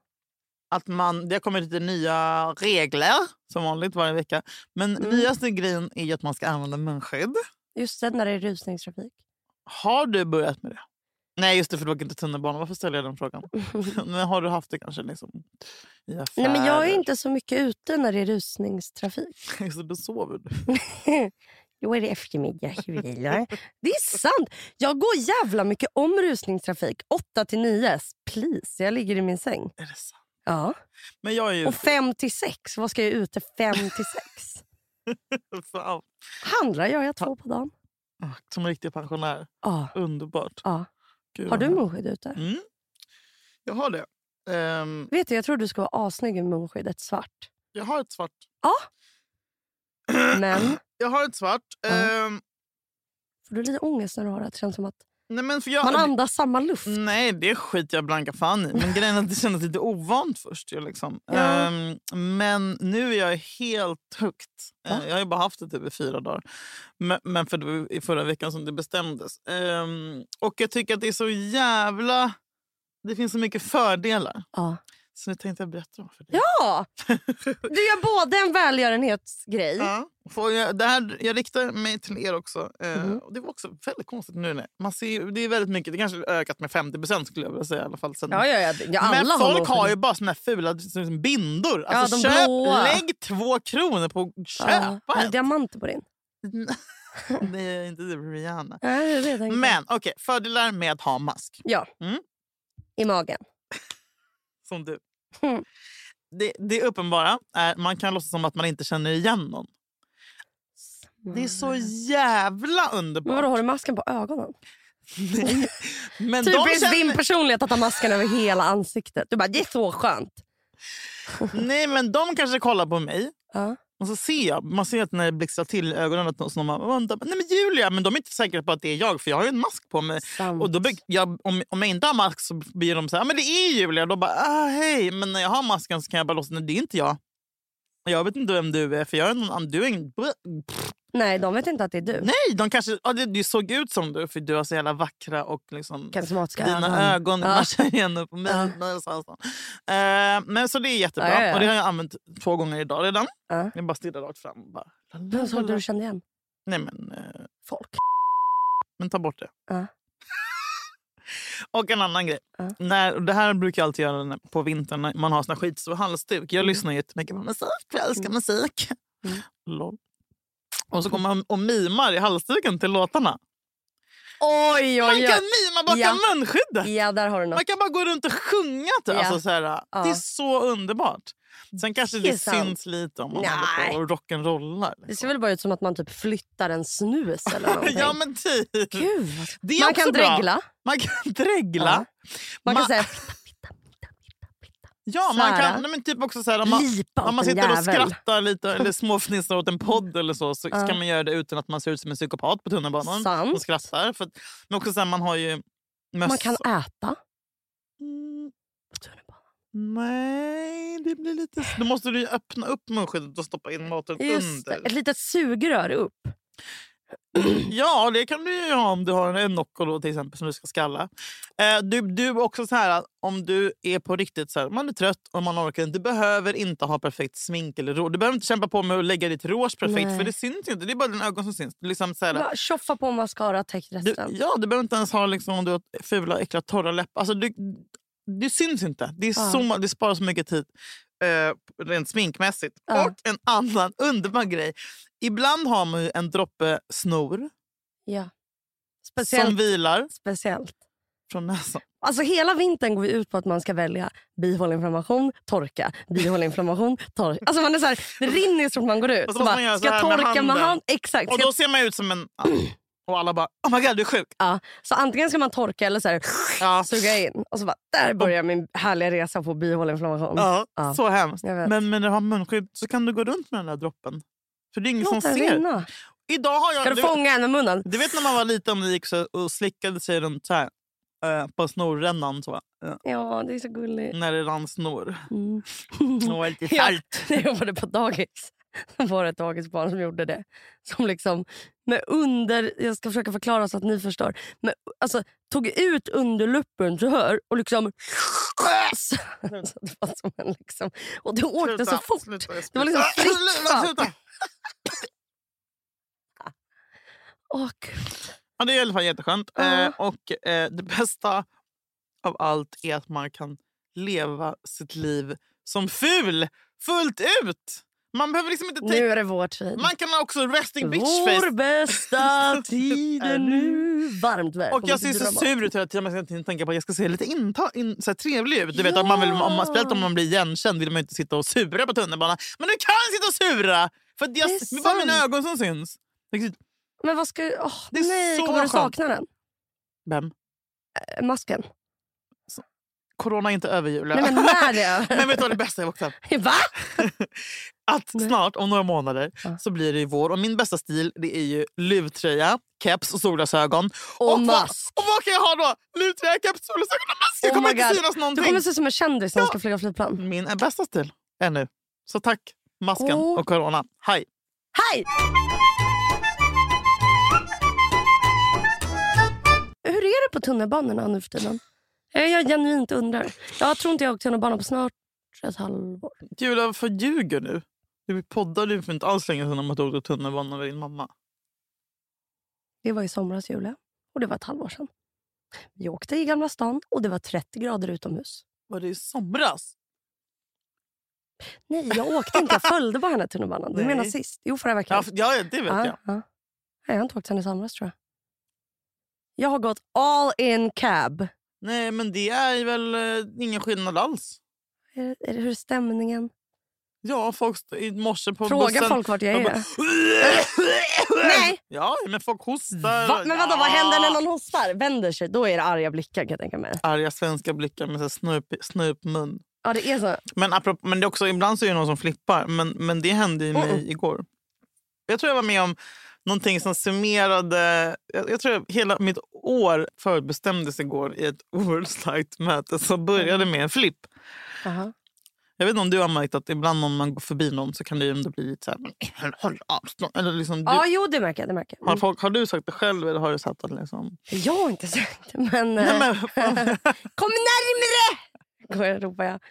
[SPEAKER 2] att man, det har kommit lite nya regler som vanligt varje vecka. Men
[SPEAKER 1] Mm.
[SPEAKER 2] nyaste grejen är ju att man ska använda munskydd.
[SPEAKER 1] Just det, när det är rusningstrafik.
[SPEAKER 2] Har du börjat med det? Nej, just det, för du åker inte tunnelbana. Varför ställer jag den frågan? Men har du haft det kanske liksom, i affärer?
[SPEAKER 1] Nej, men jag är inte så mycket ute när det är rusningstrafik.
[SPEAKER 2] Så då sover du.
[SPEAKER 1] Då är det eftermiddag, jag vilar. Det är sant! Jag går jävla mycket om rusningstrafik. 8 till 9, please. Jag ligger i min säng.
[SPEAKER 2] Är det sant?
[SPEAKER 1] Ja.
[SPEAKER 2] Men jag är ju...
[SPEAKER 1] Och 5 till 6, vad ska jag ute 5 till 6?
[SPEAKER 2] Fan.
[SPEAKER 1] Handlar gör jag två på dagen.
[SPEAKER 2] Ah, Som en riktig pensionär.
[SPEAKER 1] Ja.
[SPEAKER 2] Underbart.
[SPEAKER 1] Ja.
[SPEAKER 2] Gud,
[SPEAKER 1] Har
[SPEAKER 2] vad
[SPEAKER 1] du
[SPEAKER 2] härligt.
[SPEAKER 1] munskydd ute?
[SPEAKER 2] Mm. Jag har det. Ehm,
[SPEAKER 1] Vet du, jag tror du ska vara assnygg med munskyddet svart.
[SPEAKER 2] jag har ett svart.
[SPEAKER 1] Ja. Men
[SPEAKER 2] Jag har ett svart.
[SPEAKER 1] Ja.
[SPEAKER 2] Ehm,
[SPEAKER 1] får du lite ångest när du har det? Det känns som att
[SPEAKER 2] nej, men Mm. för jag,
[SPEAKER 1] man andas samma luft.
[SPEAKER 2] nej, det skiter jag blanka fan i. Men grejen är att det kändes lite ovant först. ju, Liksom.
[SPEAKER 1] Ja.
[SPEAKER 2] Ehm, men nu är jag helt högt.
[SPEAKER 1] Va?
[SPEAKER 2] Ehm, jag har ju bara haft det typ i fyra dagar. Men, men för det var ju i förra veckan som det bestämdes. Ehm, och jag tycker att det är så jävla... Det finns så mycket fördelar.
[SPEAKER 1] Ja.
[SPEAKER 2] Så nu tänkte jag berätta om för dig.
[SPEAKER 1] ja! Du gör både en välgörenhetsgrej.
[SPEAKER 2] Ja. Får jag, det här, jag riktar mig till er också. Eh,
[SPEAKER 1] Mhm.
[SPEAKER 2] och det var också väldigt konstigt nu. när Man ser, ju- det är väldigt mycket. Det kanske har ökat med 50 skulle jag vilja säga. I alla fall, sen.
[SPEAKER 1] Ja, ja, ja. ja alla
[SPEAKER 2] Men folk har ju
[SPEAKER 1] munskydd.
[SPEAKER 2] bara såna här fula liksom, bindor.
[SPEAKER 1] Ja,
[SPEAKER 2] Alltså,
[SPEAKER 1] de
[SPEAKER 2] köp,
[SPEAKER 1] blåa.
[SPEAKER 2] lägg två kronor på att köpa
[SPEAKER 1] Ja. Har du
[SPEAKER 2] en.
[SPEAKER 1] diamanter på din?
[SPEAKER 2] det är inte det Rihanna.
[SPEAKER 1] Nej, det vet jag inte.
[SPEAKER 2] Men okej, fördelar med att ha mask.
[SPEAKER 1] I magen.
[SPEAKER 2] Som du.
[SPEAKER 1] Mm.
[SPEAKER 2] Det, det uppenbara är man kan låtsas som att man inte känner igen någon. Det är så jävla
[SPEAKER 1] Mm. Men
[SPEAKER 2] underbart.
[SPEAKER 1] vadå, har du masken på ögonen?
[SPEAKER 2] Nej. Men de
[SPEAKER 1] Typiskt din
[SPEAKER 2] känner,
[SPEAKER 1] personlighet att ha masken över hela ansiktet. Du bara, det är så skönt.
[SPEAKER 2] nej, men de kanske kollar på mig
[SPEAKER 1] Ja.
[SPEAKER 2] och så ser jag, man ser att när det blixtrar till i ögonen att någon som man undrar, nej men Julia, men de är inte säkra på att det är jag för jag har ju en mask på mig.
[SPEAKER 1] Sant.
[SPEAKER 2] Och då blir jag, om, om jag inte har mask så blir de så här, men det är Julia. Då bara, ah, hej. Men när jag har masken så kan jag bara låtsas, nej det är inte jag. Jag vet inte vem du är för jag är någon annan. Du är ingen...
[SPEAKER 1] Nej, de vet inte att det är du.
[SPEAKER 2] Nej, de kanske, ja, det- du såg ut som du för du har så jävla vackra och liksom...
[SPEAKER 1] Karismatiska
[SPEAKER 2] Dina ögon
[SPEAKER 1] Ja.
[SPEAKER 2] matchar igen upp på mina.
[SPEAKER 1] Ja.
[SPEAKER 2] mina sådana. Eh, men så det är jättebra.
[SPEAKER 1] Ja, ja, ja.
[SPEAKER 2] Och det har jag använt två gånger idag redan.
[SPEAKER 1] Ja.
[SPEAKER 2] Jag bara stirrar rakt fram. och Bara, la, la,
[SPEAKER 1] Vem
[SPEAKER 2] la,
[SPEAKER 1] såg du
[SPEAKER 2] la.
[SPEAKER 1] du kände igen?
[SPEAKER 2] Nej men, eh,
[SPEAKER 1] Folk.
[SPEAKER 2] men ta bort det.
[SPEAKER 1] Ja.
[SPEAKER 2] och en annan grej.
[SPEAKER 1] Ja.
[SPEAKER 2] När, och det här brukar jag alltid göra när- på vintern när man har såna skitstora halsduk. Jag
[SPEAKER 1] Mm.
[SPEAKER 2] lyssnar jättemycket på musik. Jag älskar
[SPEAKER 1] Mm.
[SPEAKER 2] musik.
[SPEAKER 1] Mm.
[SPEAKER 2] Lol. Och så kommer man och mimar i halsduken till låtarna.
[SPEAKER 1] Oj,
[SPEAKER 2] Man
[SPEAKER 1] oj,
[SPEAKER 2] kan
[SPEAKER 1] oj.
[SPEAKER 2] mima bakom
[SPEAKER 1] Ja.
[SPEAKER 2] munskyddet!
[SPEAKER 1] Ja, där har du något.
[SPEAKER 2] Man kan bara gå runt och sjunga. Typ.
[SPEAKER 1] Ja.
[SPEAKER 2] Alltså, så här, Det är
[SPEAKER 1] Ja.
[SPEAKER 2] så underbart. Sen kanske
[SPEAKER 1] Det är
[SPEAKER 2] det
[SPEAKER 1] sant.
[SPEAKER 2] syns lite om man
[SPEAKER 1] Nej.
[SPEAKER 2] håller på och rock'n'rollar. liksom.
[SPEAKER 1] Det ser väl bara ut som att man typ flyttar en snus eller någonting.
[SPEAKER 2] Ja, men typ.
[SPEAKER 1] Gud, vad-
[SPEAKER 2] Det är
[SPEAKER 1] man
[SPEAKER 2] också
[SPEAKER 1] kan
[SPEAKER 2] bra.
[SPEAKER 1] dregla.
[SPEAKER 2] Man kan dregla.
[SPEAKER 1] Man kan
[SPEAKER 2] Ma-
[SPEAKER 1] säga
[SPEAKER 2] Ja,
[SPEAKER 1] så
[SPEAKER 2] man
[SPEAKER 1] här.
[SPEAKER 2] kan nej, men typ också så här, om man,
[SPEAKER 1] lipa
[SPEAKER 2] om man
[SPEAKER 1] åt en
[SPEAKER 2] sitter och
[SPEAKER 1] jävel.
[SPEAKER 2] skrattar lite eller småfnissar åt en podd eller så, så
[SPEAKER 1] Ja.
[SPEAKER 2] ska man göra det utan att man ser ut som en psykopat på tunnelbanan och
[SPEAKER 1] Sant.
[SPEAKER 2] skrattar. För att, men också så här, man har ju mössa.
[SPEAKER 1] Man kan äta.
[SPEAKER 2] Mm, nej, det blir lite... Då måste du ju öppna upp munskyddet och stoppa in maten
[SPEAKER 1] Just det.
[SPEAKER 2] under.
[SPEAKER 1] Ett litet sugrör upp.
[SPEAKER 2] Ja, det kan du ju ha om du har en Nocco då, till exempel som du ska skalla. Eh, du, du är också så här, att om du är på riktigt så här, man är trött och man orkar inte. Du behöver inte ha perfekt smink eller rouge. Du behöver inte kämpa på med att lägga ditt rouge perfekt
[SPEAKER 1] Nej.
[SPEAKER 2] för det syns ju inte. Det är bara dina ögon som syns. Du, liksom så här,
[SPEAKER 1] Bara Tjoffa på mascara, täck
[SPEAKER 2] du,
[SPEAKER 1] resten.
[SPEAKER 2] ja, du behöver inte ens ha liksom, om du har fula, äckliga, torra läppar. Alltså, du, Det syns inte. Det, är
[SPEAKER 1] Ja.
[SPEAKER 2] så, ma- det sparar så mycket tid eh, rent sminkmässigt.
[SPEAKER 1] Ja.
[SPEAKER 2] Och en annan underbar grej. Ibland har man ju en droppe snor
[SPEAKER 1] Ja. Speciellt.
[SPEAKER 2] som vilar
[SPEAKER 1] speciellt.
[SPEAKER 2] från näsan.
[SPEAKER 1] Alltså hela vintern går vi ut på att man ska välja bihåleinflammation, torka, bihåleinflammation, torka. Alltså man är så här, det rinner så fort man går ut.
[SPEAKER 2] Och så
[SPEAKER 1] Så
[SPEAKER 2] måste
[SPEAKER 1] bara,
[SPEAKER 2] Alltså, man
[SPEAKER 1] ska jag
[SPEAKER 2] göra så här med
[SPEAKER 1] torka med
[SPEAKER 2] handen?
[SPEAKER 1] hand? Exakt.
[SPEAKER 2] Och
[SPEAKER 1] Ska,
[SPEAKER 2] då ser man ut som en... ja. Och alla bara “Oh my god, du är sjuk”.
[SPEAKER 1] Så antingen ska man torka eller så här,
[SPEAKER 2] Ja.
[SPEAKER 1] suga in. Och så bara, där börjar min härliga resa på bihåleinflammation.
[SPEAKER 2] Ja,
[SPEAKER 1] Ja.
[SPEAKER 2] Så hemskt.
[SPEAKER 1] Jag vet.
[SPEAKER 2] Men när du har munskydd så kan du gå runt med den där droppen. För det är ingen som
[SPEAKER 1] Låt den
[SPEAKER 2] ser.
[SPEAKER 1] rinna.
[SPEAKER 2] Idag har jag...
[SPEAKER 1] Ska du fånga en med munnen?
[SPEAKER 2] Du vet när man var liten och gick så, och slickade sig runt så här, eh, på snorrännan. Så, eh,
[SPEAKER 1] Ja, det är så gulligt.
[SPEAKER 2] när det rann snor.
[SPEAKER 1] Mm.
[SPEAKER 2] Det var lite
[SPEAKER 1] Ja.
[SPEAKER 2] salt.
[SPEAKER 1] när jag jobbade på dagis så var det ett dagisbarn som gjorde det. Som liksom med under, jag ska försöka förklara så att ni förstår. Men, alltså, tog ut underluppen så här och liksom... Så, så det var som en liksom... Och det åkte så fort.
[SPEAKER 2] Mm. Sluta, jag
[SPEAKER 1] Det var liksom
[SPEAKER 2] spyr.
[SPEAKER 1] fritt
[SPEAKER 2] Sluta,
[SPEAKER 1] fram.
[SPEAKER 2] sluta.
[SPEAKER 1] Åh, gud.
[SPEAKER 2] Ja, det är i alla fall jätteskönt.
[SPEAKER 1] Ja.
[SPEAKER 2] Eh, och eh, det bästa av allt är att man kan leva sitt liv som ful fullt ut. Man behöver liksom inte tänka.
[SPEAKER 1] Nu är det vår tid.
[SPEAKER 2] Man kan ha också resting bitch face.
[SPEAKER 1] Vår bästa tid är nu. Varmt välkommen
[SPEAKER 2] Och jag ser
[SPEAKER 1] till
[SPEAKER 2] så
[SPEAKER 1] Dramaten.
[SPEAKER 2] sur ut hela tiden. Man ska inte tänka på att jag ska se lite inta, in, så här trevlig ut. Du vet, om man vill, om man, speciellt om man blir igenkänd vill man ju inte sitta och sura på tunnelbanan. Men du kan sitta och sura! För att jag,
[SPEAKER 1] Det är
[SPEAKER 2] det är bara mina
[SPEAKER 1] sant.
[SPEAKER 2] ögon som syns.
[SPEAKER 1] Men vad ska... Åh,
[SPEAKER 2] Det är
[SPEAKER 1] nej,
[SPEAKER 2] så
[SPEAKER 1] kommer du
[SPEAKER 2] skönt.
[SPEAKER 1] sakna den?
[SPEAKER 2] Vem?
[SPEAKER 1] Eh, Masken?
[SPEAKER 2] Corona är inte över, Julia.
[SPEAKER 1] Nej, men när det är
[SPEAKER 2] Men vet du vad det bästa är också?
[SPEAKER 1] Va?
[SPEAKER 2] Att
[SPEAKER 1] Nej.
[SPEAKER 2] snart, om några månader,
[SPEAKER 1] Ja.
[SPEAKER 2] så blir det ju vår. Och min bästa stil det är ju luvtröja, keps och solglasögon.
[SPEAKER 1] Och
[SPEAKER 2] vad-
[SPEAKER 1] mask.
[SPEAKER 2] Och vad kan jag ha då? Luvtröja, keps, solglasögon och mask! Jag
[SPEAKER 1] Oh
[SPEAKER 2] kommer
[SPEAKER 1] my
[SPEAKER 2] inte
[SPEAKER 1] God.
[SPEAKER 2] synas
[SPEAKER 1] Du
[SPEAKER 2] någonting.
[SPEAKER 1] kommer se ut som en kändis när du
[SPEAKER 2] Ja.
[SPEAKER 1] ska flyga flygplan.
[SPEAKER 2] Min är bästa stil är nu. Så tack, masken
[SPEAKER 1] Åh.
[SPEAKER 2] och corona. Hej!
[SPEAKER 1] Hej! Hur är det på tunnelbanorna nu för tiden? Jag, jag genuint undrar. Jag tror inte jag har åkt tunnelbana på snart ett halvår.
[SPEAKER 2] Julia, varför ljuger du? Du poddade ju för inte alls länge sedan om att du åkte tunnelbana med din mamma.
[SPEAKER 1] Det var i somras, Julia. Och det var ett halvår sedan. Vi åkte i Gamla stan och det var 30 grader utomhus.
[SPEAKER 2] Var det i somras?
[SPEAKER 1] Nej, jag åkte inte. Jag följde bara henne i tunnelbanan. Du
[SPEAKER 2] Nej.
[SPEAKER 1] menar sist? Jo, förra veckan.
[SPEAKER 2] Ja, för- ja det vet
[SPEAKER 1] Ja,
[SPEAKER 2] jag.
[SPEAKER 1] ja. Nej, jag har inte åkt sen i somras, tror jag. Jag har gått all in cab.
[SPEAKER 2] Nej, men det är ju väl eh, ingen skillnad alls.
[SPEAKER 1] Är, det- är, det- hur är stämningen?
[SPEAKER 2] Ja, folk st- i morse på
[SPEAKER 1] Fråga
[SPEAKER 2] bussen...
[SPEAKER 1] folk vart jag
[SPEAKER 2] de
[SPEAKER 1] är.
[SPEAKER 2] bara-
[SPEAKER 1] Nej!
[SPEAKER 2] Ja, men folk hostar.
[SPEAKER 1] Va? Men vadå, vad händer när
[SPEAKER 2] Ja.
[SPEAKER 1] någon hostar? Vänder sig, då är det arga blickar kan jag tänka mig.
[SPEAKER 2] Arga svenska blickar med så här snup, snupmun.
[SPEAKER 1] Ja, det är så.
[SPEAKER 2] Men, apropå, men det är också, ibland så är det någon som flippar. Men, men det hände ju mig
[SPEAKER 1] Mm.
[SPEAKER 2] igår. Jag tror jag var med om någonting som summerade... Jag, jag tror hela mitt år förbestämdes igår i ett oerhört starkt möte som
[SPEAKER 1] Mm.
[SPEAKER 2] började med en flipp.
[SPEAKER 1] Aha.
[SPEAKER 2] Jag vet inte om du har märkt att ibland om man går förbi någon så kan det ju ändå bli lite så här... "Håll- Håll avstånd. Eller liksom, du,
[SPEAKER 1] Ja, jo, det märker jag. Det märker jag.
[SPEAKER 2] har,
[SPEAKER 1] Mm.
[SPEAKER 2] folk, har du sagt det själv eller har du sagt att liksom...
[SPEAKER 1] Jag har inte sagt det, men... eh,
[SPEAKER 2] Nej, men, fan.
[SPEAKER 1] Kom närmre! Går jag, ropar jag.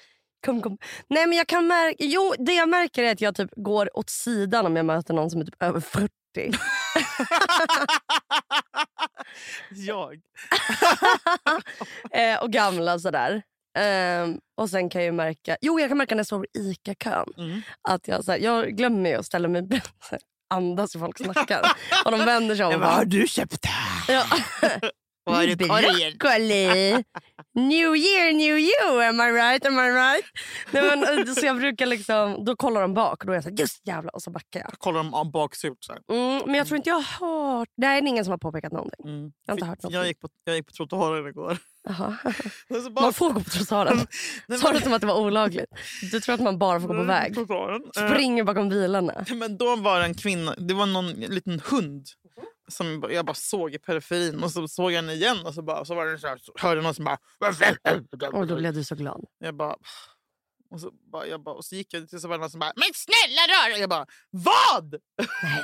[SPEAKER 1] Kom, kom. Nej, men jag kan märka... Jo, det jag märker är att jag typ går åt sidan om jag möter någon som är typ över 40.
[SPEAKER 2] jag.
[SPEAKER 1] Eh, och gamla sådär. Ehm, och sen kan jag ju märka... Jo, jag kan märka när jag står i ICA-kön.
[SPEAKER 2] Mm.
[SPEAKER 1] att jag, så här, jag glömmer ju att ställa mig så här, andas hur folk snackar. Och de vänder sig om
[SPEAKER 2] Ja,
[SPEAKER 1] och
[SPEAKER 2] vad har
[SPEAKER 1] bara...
[SPEAKER 2] du köpt här?
[SPEAKER 1] Ja.
[SPEAKER 2] Vad har du korgen?
[SPEAKER 1] Broccoli! New year, new you! Am I right? Am I right? Nej, men, eh, så jag brukar liksom, då kollar de bak och då är jag så här, just jävlar, och så backar jag.
[SPEAKER 2] kollar dem av baksurt. Så här.
[SPEAKER 1] Mm, men jag tror inte jag har hört... Nej, det är ingen som har påpekat någonting.
[SPEAKER 2] Mm.
[SPEAKER 1] Jag har inte hört något.
[SPEAKER 2] Jag gick på, jag gick på trottoaren igår.
[SPEAKER 1] Jaha.
[SPEAKER 2] Och så bara-
[SPEAKER 1] Man får gå på trottoaren.
[SPEAKER 2] Nej,
[SPEAKER 1] Sa
[SPEAKER 2] men- Mm,
[SPEAKER 1] du som att det var olagligt? Du tror att man bara får gå på väg?
[SPEAKER 2] Trottoaren. Eh,
[SPEAKER 1] Springer bakom bilarna.
[SPEAKER 2] Men då var det en kvinna, det var någon liten hund
[SPEAKER 1] Mhm.
[SPEAKER 2] som jag bara- jag bara såg i periferin och så såg jag henne igen och så, bara, så, var det så, här, så hörde jag någon som bara...
[SPEAKER 1] Och då blev du så glad.
[SPEAKER 2] Jag bara... Och så, bara, jag bara, och så gick jag till så var det någon som bara “Men snälla rör dig!” Jag bara “Vad?”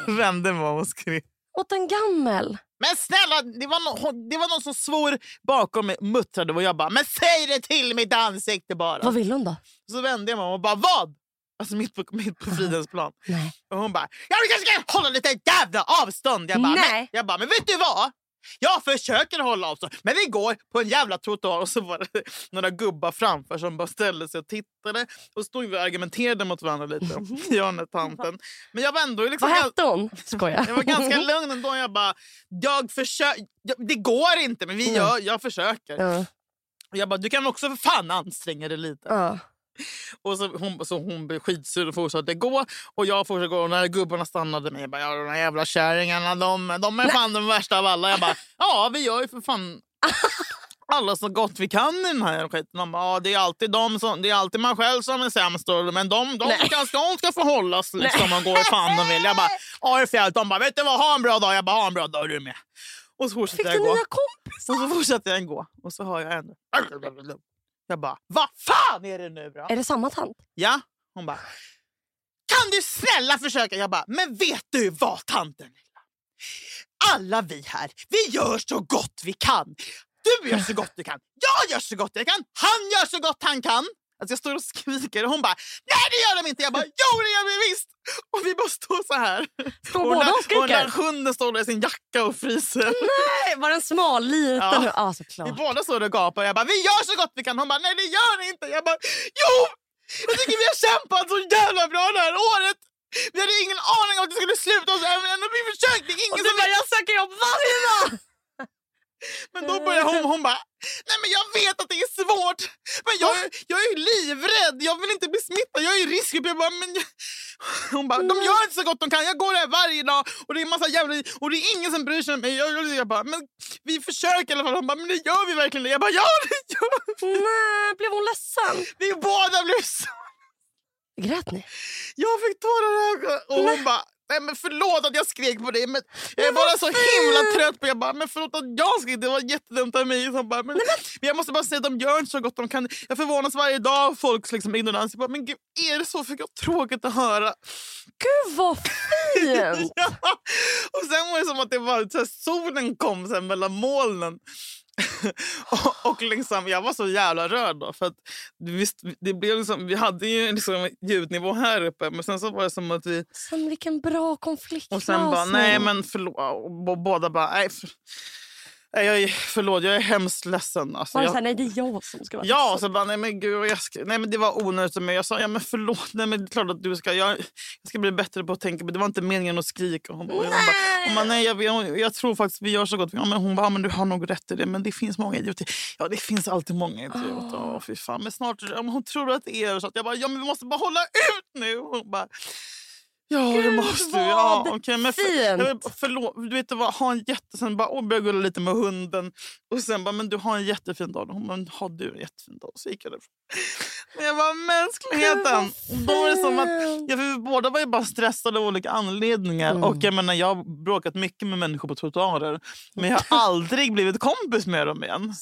[SPEAKER 2] Vände mig om och skrek.
[SPEAKER 1] Åt en gammel!
[SPEAKER 2] Men snälla, det var, nå- hon- det var någon som svor bakom mig, muttrade och jag bara “Men säg det till mitt ansikte bara!”
[SPEAKER 1] Vad vill hon då?
[SPEAKER 2] Så vände jag mig om och bara “Vad?” Alltså mitt på, mitt på fridens plan.
[SPEAKER 1] Nej.
[SPEAKER 2] Och hon bara “Ja, vi kanske kan hålla lite jävla avstånd!” jag bara,
[SPEAKER 1] Nej.
[SPEAKER 2] Men, jag bara “Men vet du vad? Jag försöker hålla avstånd, men vi går på en jävla trottoar och så var det några gubbar framför som bara ställde sig och tittade. Och stod vi och argumenterade mot varandra lite, jag och den här tanten. Men jag var ändå liksom...
[SPEAKER 1] Vad hette hon? Skoja.
[SPEAKER 2] Jag var ganska lugn ändå. Jag bara, jag försöker. Det går inte, men vi gör, jag försöker.
[SPEAKER 1] Ja,
[SPEAKER 2] Och Jag bara, du kan också för fan anstränga dig lite.
[SPEAKER 1] ja.
[SPEAKER 2] Och så hon, så hon blev skitsur och fortsatte gå. Och jag fortsatte gå. Och när gubbarna stannade mig, jag bara, ja, de där jävla kärringarna, de, de är fan de värsta av alla. Jag bara, ja, vi gör ju för fan alla så gott vi kan i den här skiten. De bara, ja, det, är alltid de som, det är alltid man själv som är sämst. och- Men de, de,
[SPEAKER 1] Nej.
[SPEAKER 2] ska, de ska förhållas liksom, och gå hur fan de vill. Jag bara, ja, det är fel. De bara, vet du vad, ha en bra dag. Jag bara, ha en bra dag du med. Och så
[SPEAKER 1] Fick
[SPEAKER 2] fortsatte
[SPEAKER 1] du
[SPEAKER 2] jag gå.
[SPEAKER 1] nya kompisar?
[SPEAKER 2] Och så fortsatte jag gå. Och så hör jag henne. Jag bara, vad fan är det nu då?
[SPEAKER 1] Är det samma tant?
[SPEAKER 2] Ja. Hon bara, kan du snälla försöka? Jag bara, men vet du vad tanten Lilla? Alla vi här, vi gör så gott vi kan. Du gör så gott du kan, jag gör så gott jag kan, han gör så gott han kan. Alltså jag står och skriker och hon bara, nej det gör de inte. Jag bara, jo det gör vi visst. Och vi bara står så här.
[SPEAKER 1] Står
[SPEAKER 2] och, den
[SPEAKER 1] båda
[SPEAKER 2] här-
[SPEAKER 1] och
[SPEAKER 2] och den här
[SPEAKER 1] skriker?
[SPEAKER 2] hunden står där i sin jacka och fryser.
[SPEAKER 1] Nej, Var den smal? Liten?
[SPEAKER 2] Ja.
[SPEAKER 1] Ja, ah,
[SPEAKER 2] Vi
[SPEAKER 1] såklart.
[SPEAKER 2] båda står och gapar. Jag bara, vi gör så gott vi kan. Hon bara, nej det gör ni inte. Jag bara, jo! Jag tycker vi har kämpat så jävla bra det här året. Vi hade ingen aning om att det skulle sluta oss även om vi försökte.
[SPEAKER 1] Och
[SPEAKER 2] Ingen
[SPEAKER 1] du
[SPEAKER 2] som
[SPEAKER 1] bara, jag söker jobb varje dag!
[SPEAKER 2] Men då börjar hon, hon bara, nej men jag vet att det är svårt. Men jag, jag är ju livrädd. Jag vill inte bli smittad. Jag är i riskgrupp. Jag bara, men jag... Hon bara, de gör inte så gott de kan. Jag går där varje dag och det är en massa jävla... Och det är ingen som bryr sig om mig. Jag, jag, jag bara, men vi försöker i alla fall. Hon bara, men det gör vi verkligen det? Jag bara, ja det gör vi.
[SPEAKER 1] Nej, blev hon ledsen?
[SPEAKER 2] Vi båda blev så
[SPEAKER 1] Grät ni?
[SPEAKER 2] Jag fick tårar i ögonen. Och hon bara, nej men förlåt att jag skrek på dig. Men jag är
[SPEAKER 1] Men vad
[SPEAKER 2] bara så himla trött på Jag bara, men förlåt att jag skrek. Det var jättedumt av mig. Så Hon bara, men, men jag måste bara säga att de gör inte så gott de kan. Jag förvånas varje dag av folks liksom, ignorans. Jag bara, men gud, är det så? Fick jag tråkigt att höra.
[SPEAKER 1] Gud vad fint!
[SPEAKER 2] Ja. Och sen var det som att det var, så här, solen kom så här, mellan molnen. och, och liksom, jag var så jävla rörd då. För att, visst, det blev liksom, vi hade ju liksom en ljudnivå här uppe men sen så var det som att vi
[SPEAKER 1] Sen vilken bra konfliktlösning.
[SPEAKER 2] och sen bara, nej men förlåt. Och b- båda bara, nej, för, nej jag är, förlåt jag är hemskt ledsen. Alltså,
[SPEAKER 1] Var det så
[SPEAKER 2] jag,
[SPEAKER 1] här, nej det är jag som ska vara
[SPEAKER 2] ja, och
[SPEAKER 1] ledsen.
[SPEAKER 2] så bara, nej men gud, jag ska, nej men det var onödigt av mig. Jag sa, ja men förlåt, nej men det är klart att du ska, jag, jag ska bli bättre på att tänka, men det var inte meningen att skrika. Och Hon bara, och hon bara, hon bara, nej, jag, jag, jag tror faktiskt vi gör så gott vi kan. Men hon bara, ja, men du har nog rätt i det. Men det finns många idioter. Ja, det finns alltid många idioter.
[SPEAKER 1] Ah.
[SPEAKER 2] Åh, fy fan. Men snart, ja, men hon tror att det är så. Att jag bara, ja, men vi måste bara hålla ut nu. Och Hon bara, ja, det
[SPEAKER 1] Gud,
[SPEAKER 2] måste vi.
[SPEAKER 1] vad
[SPEAKER 2] Ja, okej, men för,
[SPEAKER 1] fint.
[SPEAKER 2] jag vill- förlåt, du vet vad, ha en jätte... Sen bara, åh, började jag gulla lite med hunden. Och sen bara, men du har en jättefin dag. Hon bara, men har du en jättefin dag? Så gick jag därifrån. Men jag bara, mänskligheten. Då är det som att Ja, för vi båda var ju bara stressade av olika anledningar.
[SPEAKER 1] Mm.
[SPEAKER 2] Och jag, menar, jag har bråkat mycket med människor på trottoarer men jag har aldrig blivit kompis med dem igen.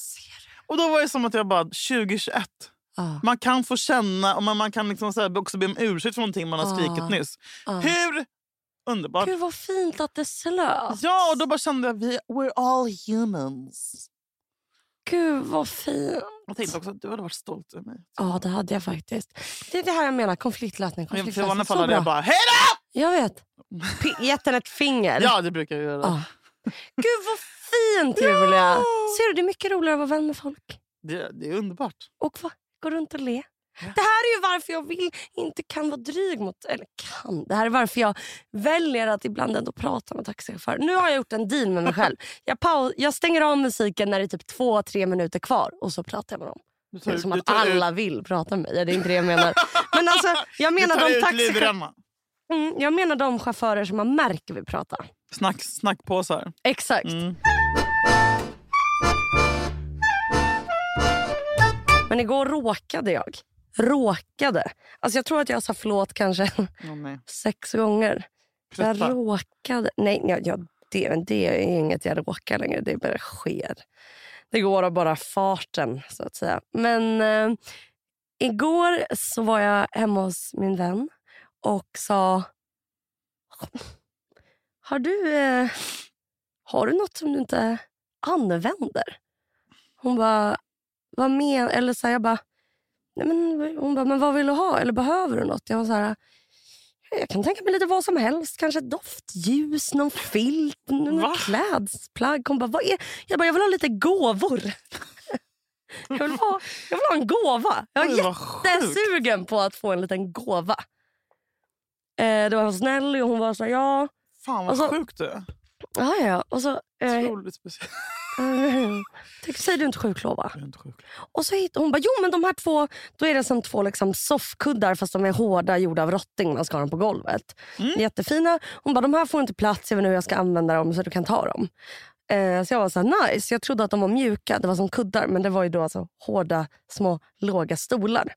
[SPEAKER 2] Och Då var det som att jag bara, 2021.
[SPEAKER 1] Ja,
[SPEAKER 2] Man kan få känna och man, man kan liksom så här också be om ursäkt för någonting man har skrikit
[SPEAKER 1] Ah.
[SPEAKER 2] nyss.
[SPEAKER 1] ja.
[SPEAKER 2] Hur underbart!
[SPEAKER 1] Gud vad fint att det slöt.
[SPEAKER 2] Ja, och då bara kände jag vi we're all humans.
[SPEAKER 1] Gud vad fint.
[SPEAKER 2] Jag tänkte också att du hade varit stolt över mig.
[SPEAKER 1] Ja, det hade jag faktiskt. Det är det här jag menar, konfliktlösning.
[SPEAKER 2] Men I
[SPEAKER 1] konfliktlösning.
[SPEAKER 2] förvånade
[SPEAKER 1] Så
[SPEAKER 2] fall hade jag
[SPEAKER 1] bra.
[SPEAKER 2] bara, hej då!
[SPEAKER 1] Jag vet. P- Gett henne ett finger.
[SPEAKER 2] Ja, det brukar jag göra.
[SPEAKER 1] Ja. Gud vad fint Julia!
[SPEAKER 2] Ja.
[SPEAKER 1] Ser du, det är mycket roligare att vara vän med folk.
[SPEAKER 2] Det, det är underbart.
[SPEAKER 1] Och va? Gå runt och le.
[SPEAKER 2] Ja.
[SPEAKER 1] Det här är ju varför jag vill, inte kan vara dryg mot... Eller kan. Det här är varför jag väljer att ibland ändå prata med taxichaufförer. Nu har jag gjort en deal med mig själv. Jag, paus, jag stänger av musiken när det är typ två, tre minuter kvar och så pratar jag med dem.
[SPEAKER 2] Du tar,
[SPEAKER 1] Det är som
[SPEAKER 2] Typ, du
[SPEAKER 1] att
[SPEAKER 2] tar ut-
[SPEAKER 1] alla vill prata med mig. Ja, Det är inte det jag menar. Men alltså, jag
[SPEAKER 2] du
[SPEAKER 1] menar
[SPEAKER 2] tar
[SPEAKER 1] de
[SPEAKER 2] ut
[SPEAKER 1] taxichaufförer...
[SPEAKER 2] livremmen.
[SPEAKER 1] Mm, jag menar de chaufförer som man märker vill prata.
[SPEAKER 2] Snack, snackpåsar.
[SPEAKER 1] Exakt.
[SPEAKER 2] Mm.
[SPEAKER 1] Men igår råkade jag. Råkade. Alltså jag tror att jag sa förlåt kanske
[SPEAKER 2] Åh, nej.
[SPEAKER 1] sex gånger. Jag
[SPEAKER 2] Berätta.
[SPEAKER 1] råkade... Nej, nej jag, det, men det är inget jag råkar längre. Det bara sker. Det går av bara farten, så att säga. Men eh, igår så var jag hemma hos min vän och sa... Har du, eh, har du något som du inte använder? Hon bara... Vad men Eller så här, jag bara... Nej, men, hon bara, men vad vill du ha? Eller behöver du något? Jag var så här... Jag kan tänka mig lite vad som helst. Kanske ett doftljus, någon filt, någon
[SPEAKER 2] Va?
[SPEAKER 1] klädesplagg. Hon bara, vad är? Jag bara, jag vill ha lite gåvor. jag, vill ha, jag vill ha en gåva. Jag
[SPEAKER 2] Oj,
[SPEAKER 1] var
[SPEAKER 2] vad sjukt.
[SPEAKER 1] jättesugen på att få en liten gåva. Eh, det var snäll och hon var så här, ja.
[SPEAKER 2] Fan vad
[SPEAKER 1] Och så-
[SPEAKER 2] sjukt du är.
[SPEAKER 1] Ja, ja, ja. Och så, eh,
[SPEAKER 2] Otroligt speciellt.
[SPEAKER 1] Tänk, säger du inte sjuklova?
[SPEAKER 2] Jag är inte sjuk.
[SPEAKER 1] Och så hittade hon bara, jo men de här två, då är det som två liksom soffkuddar fast de är hårda, gjorda av rotting. Man ska ha dem på golvet.
[SPEAKER 2] Mm.
[SPEAKER 1] Jättefina. Hon bara, de här får inte plats, jag vet inte hur jag ska använda dem så du kan ta dem. Eh, så jag var så här, nice. Jag trodde att de var mjuka, det var som kuddar. Men det var ju då alltså hårda, små, låga stolar.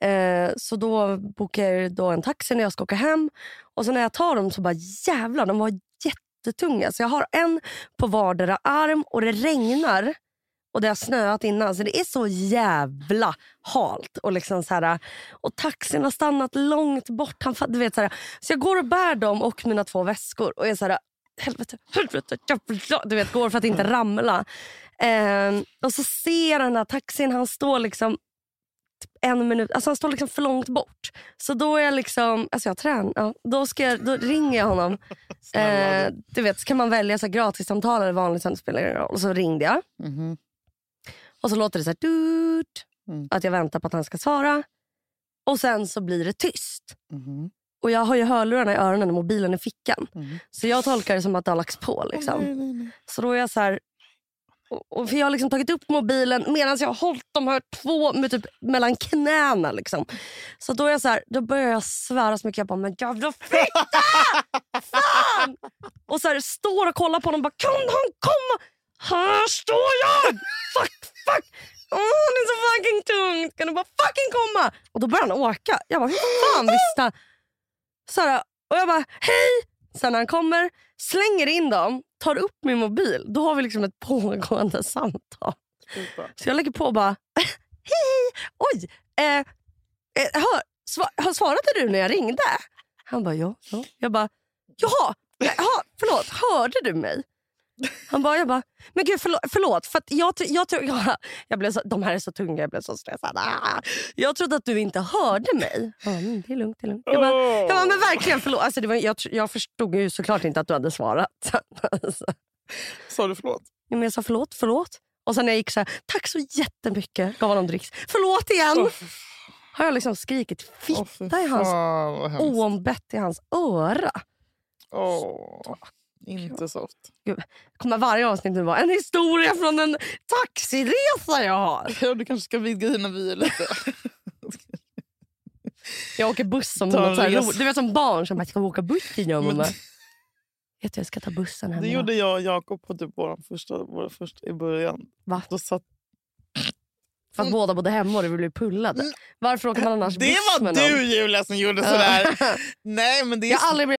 [SPEAKER 1] Eh, så då bokar jag ju då en taxi när jag ska åka hem. Och så när jag tar dem så bara jävlar, de var jättetunga. Så jag har en på vardera arm och det regnar. Och det har snöat innan, så det är så jävla halt. Och, liksom så här, och taxin har stannat långt bort. Han, fa- du vet, så, här, så jag går och bär dem och mina två väskor och är så här... Helvete, helvete, jävla", du vet, går för att inte ramla. Ehm, och så ser jag den här taxin, han står liksom typ en minut, alltså han står liksom för långt bort. Så då är jag liksom, alltså jag tränar, ja, då, ska jag, då ringer jag honom.
[SPEAKER 2] Snälla
[SPEAKER 1] Eh, du vet, så kan man välja så här, gratissamtal eller vanligt samtal, det spelar ingen roll. Och så ringde jag.
[SPEAKER 2] du. Mhm.
[SPEAKER 1] Och så låter det så här... Dut,
[SPEAKER 2] Mm.
[SPEAKER 1] Att jag väntar på att han ska svara. Och sen så blir det tyst.
[SPEAKER 2] Mhm.
[SPEAKER 1] Och jag har ju hörlurarna i öronen och mobilen i fickan.
[SPEAKER 2] Mhm.
[SPEAKER 1] Så jag tolkar det som att det har lagts på.
[SPEAKER 2] Åh, nej,
[SPEAKER 1] Liksom.
[SPEAKER 2] nej, nej.
[SPEAKER 1] Så då är jag så här... Och, och för jag har liksom tagit upp mobilen medan jag har hållit de här två med typ mellan knäna. Liksom. Så då är jag så här, då börjar jag svära så mycket. Jag bara, men jävla fitta! Fan! Och så här, står och kollar på honom. Bara, kan han komma? Här står jag! Fuck, fuck! Åh, det är så fucking tungt. Kan du bara fucking komma? Och då börjar han åka. Jag bara, hur fan visste han? Så här, och jag bara, hej! Sen när han kommer, slänger in dem, tar upp min mobil. Då har vi liksom ett pågående samtal.
[SPEAKER 2] Sluta.
[SPEAKER 1] Så jag lägger på och bara, hej, hej, oj, eh, eh, hör, sva, har svarade du när jag ringde? Han bara, ja. ja. Jag bara, jaha, jaha, förlåt, hörde du mig? Han bara, jag bara, men gud förlåt, förlåt för att jag, tro- jag, tro- jag, jag blev så, de här är så tunga, jag blev så stressad. Ah. Jag trodde att du inte hörde mig. Han bara, mm, det är lugnt, det är lugnt. Jag bara, jag bara, men verkligen förlåt. Alltså, det var, jag, tr- jag förstod ju såklart inte att du hade svarat. Alltså,
[SPEAKER 2] Sa du förlåt?
[SPEAKER 1] men jag sa förlåt, förlåt. Och sen när jag gick så här, tack så jättemycket. Gav honom dricks. Förlåt igen.
[SPEAKER 2] Åh, fy
[SPEAKER 1] Har jag liksom skrikit
[SPEAKER 2] Åh,
[SPEAKER 1] fitt
[SPEAKER 2] fy
[SPEAKER 1] Där är hans-
[SPEAKER 2] fan, vad hemskt.
[SPEAKER 1] oombett i hans öra.
[SPEAKER 2] Åh, Inte soft.
[SPEAKER 1] Kommer varje avsnitt nu vara en historia från en taxiresa jag har.
[SPEAKER 2] Ja, Du kanske ska vidga dina vyer lite.
[SPEAKER 1] Jag åker buss som
[SPEAKER 2] Ta en
[SPEAKER 1] något så här
[SPEAKER 2] resa.
[SPEAKER 1] ro- Du vet som barn som bara, ska vi åka buss idag
[SPEAKER 2] Men
[SPEAKER 1] mamma? Vet du, jag ska ta bussen hem.
[SPEAKER 2] det
[SPEAKER 1] idag.
[SPEAKER 2] gjorde jag och Jakob på typ vår första, vår första i början.
[SPEAKER 1] Va?
[SPEAKER 2] Då satt,
[SPEAKER 1] För att båda bodde hemma och vi blev pullade.
[SPEAKER 2] Mm.
[SPEAKER 1] Varför åker man annars
[SPEAKER 2] det
[SPEAKER 1] buss
[SPEAKER 2] var
[SPEAKER 1] med någon?
[SPEAKER 2] du Julia som gjorde sådär. Nej men det
[SPEAKER 1] jag
[SPEAKER 2] är
[SPEAKER 1] har aldrig blivit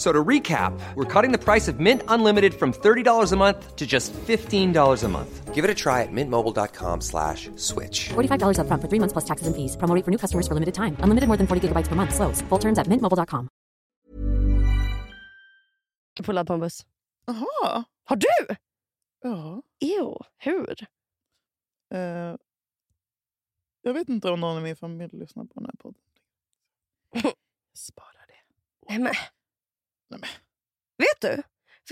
[SPEAKER 3] So to recap, we're cutting the price of Mint Unlimited from $30 a month to just $15 a month. Give it a try at mintmobile.com slash switch.
[SPEAKER 4] $45 upfront for three months plus taxes and fees. Promoting for new customers for limited time. Unlimited more than 40 gigabytes per month. Slows. Full terms at mintmobile.com.
[SPEAKER 1] pullad på en buss.
[SPEAKER 2] Jaha.
[SPEAKER 1] Har du?
[SPEAKER 2] Ja.
[SPEAKER 1] Jo, hur?
[SPEAKER 2] Eh, jag vet inte om någon i min familj lyssnar på den här podden. Spara det.
[SPEAKER 1] Nej, men.
[SPEAKER 2] Nej, men.
[SPEAKER 1] Vet du?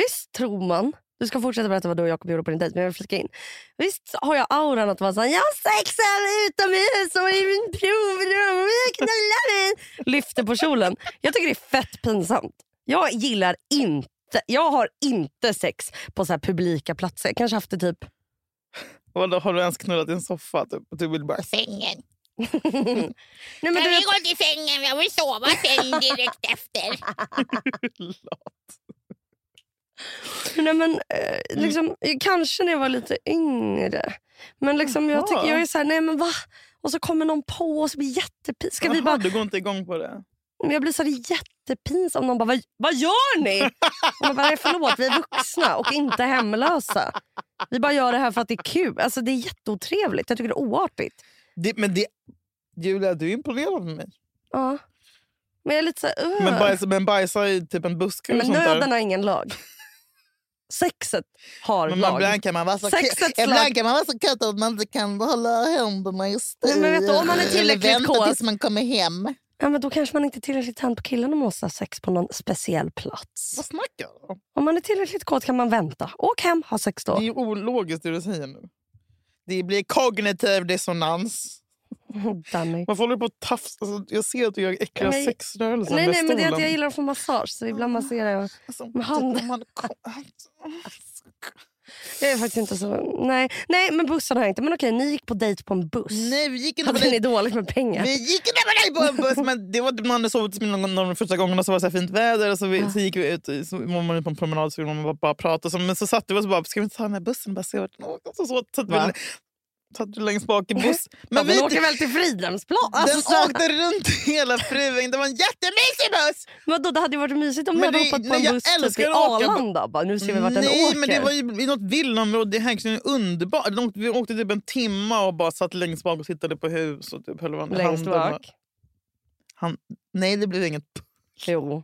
[SPEAKER 1] Visst tror man... Du ska fortsätta berätta vad du och Jakob gjorde på din dejt, men jag vill flika in. Visst har jag auran att vara såhär, jag har sex här utomhus och i min provrum och jag knullar dig. Lyfter på kjolen. Jag tycker det är fett pinsamt. Jag gillar inte, jag har inte sex på så här publika platser. Kanske haft det typ
[SPEAKER 2] Och då har du ens knullat i en soffa? Typ, du vill bara...
[SPEAKER 5] sängen.
[SPEAKER 1] Nej, men
[SPEAKER 5] Kan
[SPEAKER 1] du
[SPEAKER 5] vi
[SPEAKER 1] vet,
[SPEAKER 5] gå till sängen? Jag vill sova sen direkt efter.
[SPEAKER 1] nej, men, eh,
[SPEAKER 2] Mm.
[SPEAKER 1] liksom, kanske när jag var lite yngre. Men liksom, jag, tycker, jag är så här, nej men va? Och så kommer någon på och så blir det jättepinsamt. Ska vi
[SPEAKER 2] Jaha,
[SPEAKER 1] bara
[SPEAKER 2] Du går inte igång på det?
[SPEAKER 1] Men jag blir så här jättepinsamt om någon bara, vad, vad gör ni? Och Man bara, "Nej, förlåt, vi är vuxna och inte hemlösa. Vi bara gör det här för att det är kul. Alltså, det är jätteotrevligt. Jag tycker det är oartigt.
[SPEAKER 2] det men det Julia, du är imponerad av mig.
[SPEAKER 1] Ja. Men jag är lite så här, "Ugh."
[SPEAKER 2] Men, bajs, men bajsa i typ en buske eller
[SPEAKER 1] Men
[SPEAKER 2] sånt där.
[SPEAKER 1] nöden har ingen lag. Sexet har
[SPEAKER 2] Men man,
[SPEAKER 1] lag.
[SPEAKER 2] ibland kan man vara så
[SPEAKER 1] Sexets
[SPEAKER 2] kö-
[SPEAKER 1] lag.
[SPEAKER 2] ibland kan man vara så kött att man inte kan hålla händerna i styr.
[SPEAKER 1] Nej, men vet du, om man är
[SPEAKER 2] Eller
[SPEAKER 1] tillräckligt
[SPEAKER 2] vänta
[SPEAKER 1] kåt.
[SPEAKER 2] tills man kommer hem.
[SPEAKER 1] Ja, men då kanske man inte är tillräckligt tänd på killen om man måste ha sex på någon speciell plats.
[SPEAKER 2] Vad snackar du om?
[SPEAKER 1] Om man är tillräckligt kåt kan man vänta. Åk hem, ha sex då.
[SPEAKER 2] Det är ju ologiskt det du säger nu. Det blir kognitiv dissonans.
[SPEAKER 1] Danny.
[SPEAKER 2] Varför håller du på att tafsa? Alltså, jag ser att du gör äckliga
[SPEAKER 1] Nej, men-
[SPEAKER 2] sexrörelser
[SPEAKER 1] Nej,
[SPEAKER 2] med
[SPEAKER 1] nej, men det är att
[SPEAKER 2] stolen.
[SPEAKER 1] jag gillar att få massage. Så ibland masserar jag.
[SPEAKER 2] Alltså,
[SPEAKER 1] med handen.
[SPEAKER 2] om man kom- Alltså,
[SPEAKER 1] Jag är faktiskt inte så... Nej, nej men bussen har jag inte. Men okej, ni gick på dejt på en buss.
[SPEAKER 2] Nej, vi gick inte på
[SPEAKER 1] Hade ni
[SPEAKER 2] det.
[SPEAKER 1] dåligt med pengar?
[SPEAKER 2] Vi gick inte med dig på en buss! Men det var man hade sovit hos mina- någon av de första gångerna så var det så här fint väder och så, vi, så gick vi ut i- så var man ut på en promenad så ville man bara, bara prata. Så, men så satte vi oss och bara, ska vi inte ta den här bussen och bara se vart den åker? Så, så satt vi,
[SPEAKER 1] Va?
[SPEAKER 2] satt vi längst bak i buss.
[SPEAKER 1] Ja,
[SPEAKER 2] Men
[SPEAKER 1] men
[SPEAKER 2] vi,
[SPEAKER 1] åker väl till Fridhemsplan?
[SPEAKER 2] den
[SPEAKER 1] Alltså,
[SPEAKER 2] åkte runt hela Fruäng. Det var en jättemysig buss!
[SPEAKER 1] vadå, det hade ju varit mysigt om ni
[SPEAKER 2] Men
[SPEAKER 1] hade
[SPEAKER 2] det-
[SPEAKER 1] hoppat på
[SPEAKER 2] nej,
[SPEAKER 1] en
[SPEAKER 2] jag
[SPEAKER 1] buss typ
[SPEAKER 2] älskar
[SPEAKER 1] i
[SPEAKER 2] att åka på-
[SPEAKER 1] Arlanda. Bara, nu ser vi vart den
[SPEAKER 2] Nej,
[SPEAKER 1] åker.
[SPEAKER 2] men det var ju i något villaområde i Hägersten. Underbart. De åkte- Vi åkte typ en timme och bara satt längst bak och tittade på hus. Och typ höll varandra i
[SPEAKER 1] Längst
[SPEAKER 2] handen och-
[SPEAKER 1] bak.
[SPEAKER 2] Han, nej, det blev inget.
[SPEAKER 1] Jo.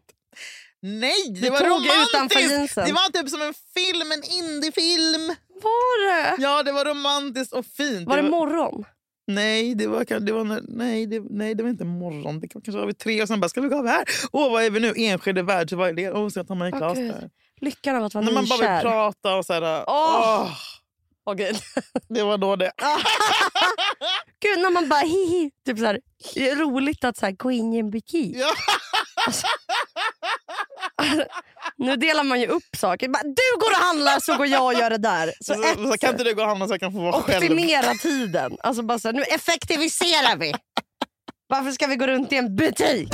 [SPEAKER 2] Nej, det
[SPEAKER 1] Vi
[SPEAKER 2] var
[SPEAKER 1] tog utanför
[SPEAKER 2] romantiskt!
[SPEAKER 1] jeansen.
[SPEAKER 2] Det var typ som en film, en indiefilm.
[SPEAKER 1] Var det?
[SPEAKER 2] Ja, det var romantiskt och fint.
[SPEAKER 1] Var det morgon?
[SPEAKER 2] nej, det var, kan- det var, när- nej, det, nej, det var inte morgon. Det kanske var vid tre och sen bara, ska vi gå av här? Åh, vad är vi nu? Enskede värld, så vad är det? Åh, så jag tar mig en
[SPEAKER 1] Åh,
[SPEAKER 2] glas
[SPEAKER 1] Gud.
[SPEAKER 2] där.
[SPEAKER 1] Lyckan av att vara
[SPEAKER 2] När man bara vill
[SPEAKER 1] nykär.
[SPEAKER 2] prata och så här.
[SPEAKER 1] Åh!
[SPEAKER 2] åh,
[SPEAKER 1] Åh, Gud.
[SPEAKER 2] det var då det.
[SPEAKER 1] Gud, när man bara hihi. Typ så här, det är roligt att så här, gå in i en butik.
[SPEAKER 2] Ja.
[SPEAKER 1] Alltså, nu delar man ju upp saker. Bara, du går och handlar så går jag och gör det där. Så
[SPEAKER 2] Så,
[SPEAKER 1] ett,
[SPEAKER 2] så, kan inte du gå och handla så jag kan få vara själv?
[SPEAKER 1] optimera tiden. Alltså bara så här, nu effektiviserar vi. Varför ska vi gå runt i en butik?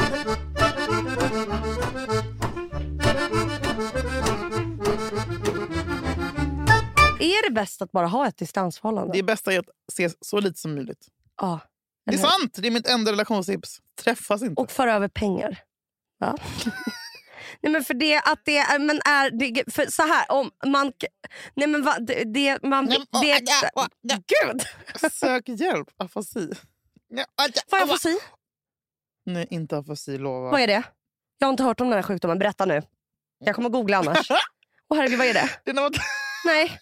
[SPEAKER 1] Är det bäst att bara ha ett distansförhållande?
[SPEAKER 2] Det bästa är att ses så lite som möjligt.
[SPEAKER 1] Ja.
[SPEAKER 2] Det är
[SPEAKER 1] Eller hur?
[SPEAKER 2] sant! Det är mitt enda relationstips. Träffas inte.
[SPEAKER 1] Och föra över pengar. Va? nej men för det att det är, men är det, för så här om man, nej men va, det, det man,
[SPEAKER 2] Nej, men- ah,
[SPEAKER 1] det,
[SPEAKER 2] ja, ja, ja.
[SPEAKER 1] gud!
[SPEAKER 2] Sök hjälp. Afasi. Ja, aj, ja,
[SPEAKER 1] Får jag
[SPEAKER 2] aj,
[SPEAKER 1] få si?
[SPEAKER 2] Nej, inte afasi, lova.
[SPEAKER 1] Vad är det? Jag har inte hört om den här sjukdomen, berätta nu. Jag kommer googla annars. Åh herregud vad är det?
[SPEAKER 2] Det är när man...
[SPEAKER 1] Nej.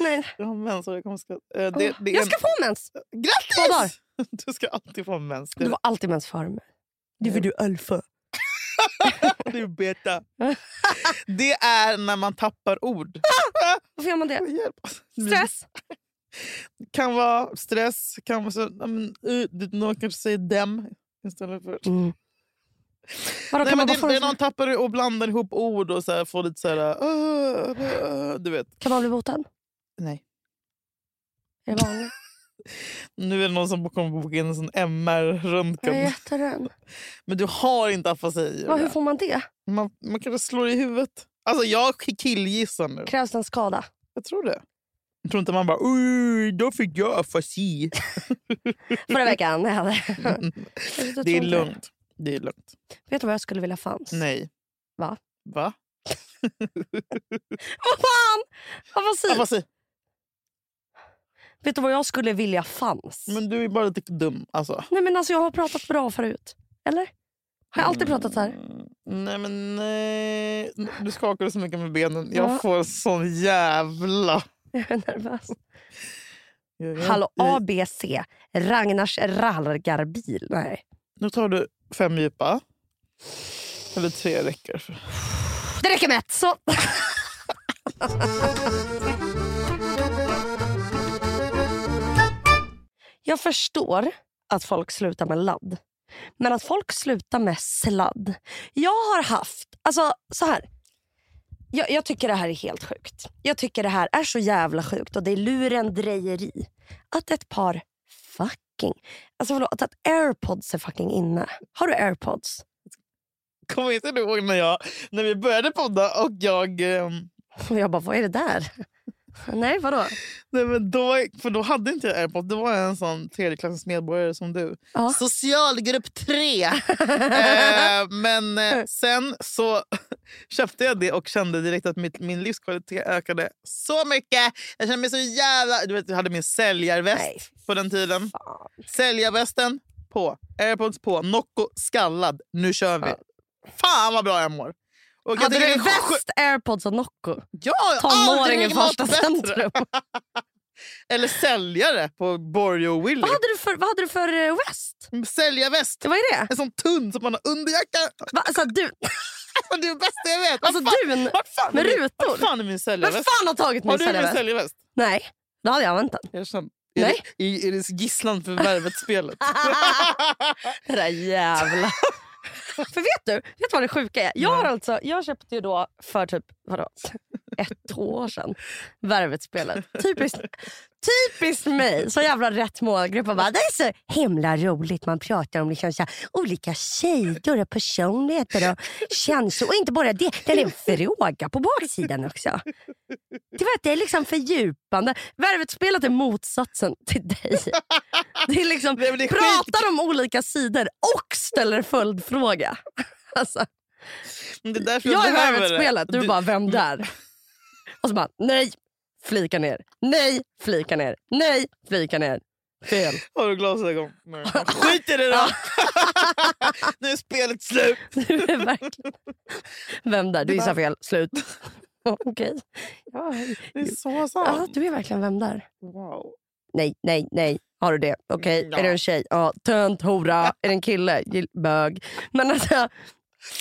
[SPEAKER 1] Nej.
[SPEAKER 2] Jag har mens och jag kommer ska... eh, det, det är
[SPEAKER 1] jag ska få mens!
[SPEAKER 2] en...
[SPEAKER 1] Två dagar.
[SPEAKER 2] Grattis! Du ska alltid få mens.
[SPEAKER 1] Du
[SPEAKER 2] Det
[SPEAKER 1] var alltid mens före mig. Det var du alfa.
[SPEAKER 2] det är beta. Det är när man tappar ord.
[SPEAKER 1] Varför gör man det?
[SPEAKER 2] Hjälp.
[SPEAKER 1] Ah! Stress?
[SPEAKER 2] kan vara stress. Kan vara så, ja, men, uh, någon kanske säger dem istället för...
[SPEAKER 1] Mm. Vadå,
[SPEAKER 2] Nej,
[SPEAKER 1] kan, man
[SPEAKER 2] men
[SPEAKER 1] bara
[SPEAKER 2] det,
[SPEAKER 1] få
[SPEAKER 2] det är
[SPEAKER 1] den,
[SPEAKER 2] någon tappar och blandar ihop ord och så här, får lite så här... "Åh, åh", du vet.
[SPEAKER 1] kan man bli botad?
[SPEAKER 2] Nej.
[SPEAKER 1] Är det vanligt?
[SPEAKER 2] Nu är det någon som kommer boka in en sån
[SPEAKER 1] Jag är
[SPEAKER 2] MR-röntgen.
[SPEAKER 1] jätterädd.
[SPEAKER 2] Men du har inte afasi.
[SPEAKER 1] Vad, Hur
[SPEAKER 2] Julia.
[SPEAKER 1] får man det?
[SPEAKER 2] Man, man kanske slår i huvudet. Alltså jag killgissar nu.
[SPEAKER 1] Krävs det en skada?
[SPEAKER 2] Jag tror det. Jag tror inte man bara "Oj, då fick jag afasi.
[SPEAKER 1] Förra veckan. Jag hade. Jag tror
[SPEAKER 2] Mm. det är
[SPEAKER 1] inte
[SPEAKER 2] lugnt. Det är lugnt.
[SPEAKER 1] Vet du vad jag skulle vilja fanns?
[SPEAKER 2] Nej.
[SPEAKER 1] Va?
[SPEAKER 2] Va?
[SPEAKER 1] Vad fan! Afasi.
[SPEAKER 2] Afasi.
[SPEAKER 1] Vet du vad jag skulle vilja fanns?
[SPEAKER 2] Men du är bara lite dum alltså.
[SPEAKER 1] Nej men alltså jag har pratat bra förut. Eller? Har jag alltid pratat så här?
[SPEAKER 2] Mm, Nej men nej. Du skakar så mycket med benen.
[SPEAKER 1] Ja.
[SPEAKER 2] Jag får sån jävla...
[SPEAKER 1] Jag är nervös.
[SPEAKER 2] Jag är-
[SPEAKER 1] Hallå ABC.
[SPEAKER 2] Mm.
[SPEAKER 1] Ragnars rallarbil. Nej.
[SPEAKER 2] Nu tar du fem djupa. Eller tre räcker.
[SPEAKER 1] Det räcker med ett. Så. Jag förstår att folk slutar med ladd. Men att folk slutar med sladd. Jag har haft, alltså så här. Jag, jag tycker det här är helt sjukt. Jag tycker det här är så jävla sjukt och det är lurendrejeri. Att ett par fucking, alltså förlåt, att airpods är fucking inne. Har du airpods?
[SPEAKER 2] Kommer inte du ihåg när, jag, när vi började podda och jag... ehm,
[SPEAKER 1] Och jag bara, vad är det där? Nej, vadå?
[SPEAKER 2] Nej, men då, för då hade inte jag airpods. Då var jag en sån tredjeklassens medborgare som du.
[SPEAKER 1] Ja.
[SPEAKER 2] Socialgrupp 3! eh, men
[SPEAKER 1] Mm.
[SPEAKER 2] eh, sen så köpte jag det och kände direkt att mitt, min livskvalitet ökade så mycket. Jag kände mig så jävla... Du vet, jag hade min säljarväst
[SPEAKER 1] Nej,
[SPEAKER 2] på den tiden.
[SPEAKER 1] fan.
[SPEAKER 2] Säljarvästen på, airpods på, Nocco skallad. Nu kör vi. Fan vad bra jag mår. Och jag
[SPEAKER 1] Hade
[SPEAKER 2] tycker
[SPEAKER 1] du
[SPEAKER 2] det är sj-
[SPEAKER 1] bäst airpods och Nocco?
[SPEAKER 2] Ja, jag har
[SPEAKER 1] Tonåring i
[SPEAKER 2] aldrig mått
[SPEAKER 1] första
[SPEAKER 2] bättre.
[SPEAKER 1] centrum.
[SPEAKER 2] Eller säljare på Borg och Willy.
[SPEAKER 1] Vad hade du för, vad hade du för eh, väst?
[SPEAKER 2] Säljarväst.
[SPEAKER 1] Det var ju det.
[SPEAKER 2] En sån tunn som man har under jackan.
[SPEAKER 1] Va, alltså, du,
[SPEAKER 2] Fan, Det är det bästa jag vet.
[SPEAKER 1] alltså
[SPEAKER 2] Vad fan-
[SPEAKER 1] dun
[SPEAKER 2] vad fan är
[SPEAKER 1] med
[SPEAKER 2] min-
[SPEAKER 1] rutor.
[SPEAKER 2] Vad fan är min
[SPEAKER 1] Vem
[SPEAKER 2] säljarväst?
[SPEAKER 1] fan har tagit min
[SPEAKER 2] Har du min
[SPEAKER 1] säljarväst?
[SPEAKER 2] säljarväst?
[SPEAKER 1] Nej, då hade jag använt den.
[SPEAKER 2] Jag känner, är,
[SPEAKER 1] Nej. Ah.
[SPEAKER 2] Det, är, är det gisslan för Värvet-spelet?
[SPEAKER 1] Det där jävla... för vet du, vet du vad det sjuka är? Jag, har alltså, jag köpte ju då för typ vadå, ett år sedan Värvet-spelet. Typiskt, typiskt mig, så jävla rätt målgrupp. Och bara, det är så himla roligt. Man pratar om liksom så här, olika sidor och personligheter och känslor. Och inte bara det, det är en fråga på baksidan också. Det, var att det är liksom fördjupande. Värvet-spelet är motsatsen till dig. Det är liksom,
[SPEAKER 2] Nej, men det är
[SPEAKER 1] pratar om olika sidor och ställer följdfråga. Alltså,
[SPEAKER 2] Men Det är därför
[SPEAKER 1] jag är
[SPEAKER 2] behöver
[SPEAKER 1] Värvet-spelet,
[SPEAKER 2] det.
[SPEAKER 1] du bara vem där? Och så bara nej, flika ner. Nej, flika ner. Nej, flika ner. Fel.
[SPEAKER 2] Har du glasögon? Nej. Skit i det då! nu är spelet slut!
[SPEAKER 1] Du är verkligen... Vem där? Du gissar fel. Slut. Okej. Ja,
[SPEAKER 2] Det är så
[SPEAKER 1] ja,
[SPEAKER 2] sant.
[SPEAKER 1] du är verkligen vem där?
[SPEAKER 2] Wow.
[SPEAKER 1] Nej, nej, nej. Har du det? Okej.
[SPEAKER 2] Mm, Ja.
[SPEAKER 1] Är det en tjej? Ja. Tönt, hora. Är det en kille? Gill- Bög. Men alltså,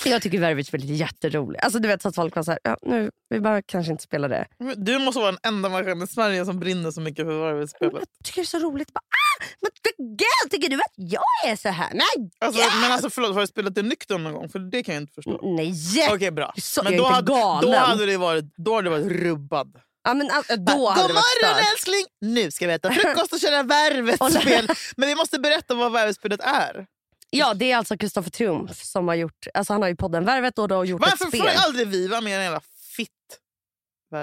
[SPEAKER 1] jag tycker Värvet-spelet är jätteroligt. Alltså, du vet så att folk var så här, ja, nu, vi bara kanske inte spela det.
[SPEAKER 2] Men Du måste vara den enda människan i Sverige som brinner så mycket för Värvet-spelet.
[SPEAKER 1] Jag tycker det är så roligt. Bara, ah, men gud, tycker du att jag är så här? Nej!
[SPEAKER 2] Alltså, men alltså, förlåt, har du spelat det nykter någon gång? För det kan jag inte förstå.
[SPEAKER 1] Nej!
[SPEAKER 2] Okej, bra.
[SPEAKER 1] Så-
[SPEAKER 2] men
[SPEAKER 1] jag är
[SPEAKER 2] då,
[SPEAKER 1] inte
[SPEAKER 2] hade, då,
[SPEAKER 1] Mm. galen.
[SPEAKER 2] hade det varit, då hade det varit rubbad.
[SPEAKER 1] Ja, men, alltså, då
[SPEAKER 2] Bara,
[SPEAKER 1] hade det
[SPEAKER 2] God
[SPEAKER 1] varit
[SPEAKER 2] morgon
[SPEAKER 1] stört.
[SPEAKER 2] älskling! Nu ska vi äta frukost och köra värvet-spel. Men vi måste berätta vad värvet-spelet är.
[SPEAKER 1] Ja, det är alltså Kristoffer Triumf som har gjort, alltså han har ju podden Värvet och då har gjort
[SPEAKER 2] Varför
[SPEAKER 1] ett
[SPEAKER 2] får
[SPEAKER 1] spel.
[SPEAKER 2] aldrig vi vara med i den jävla fitt-värvet?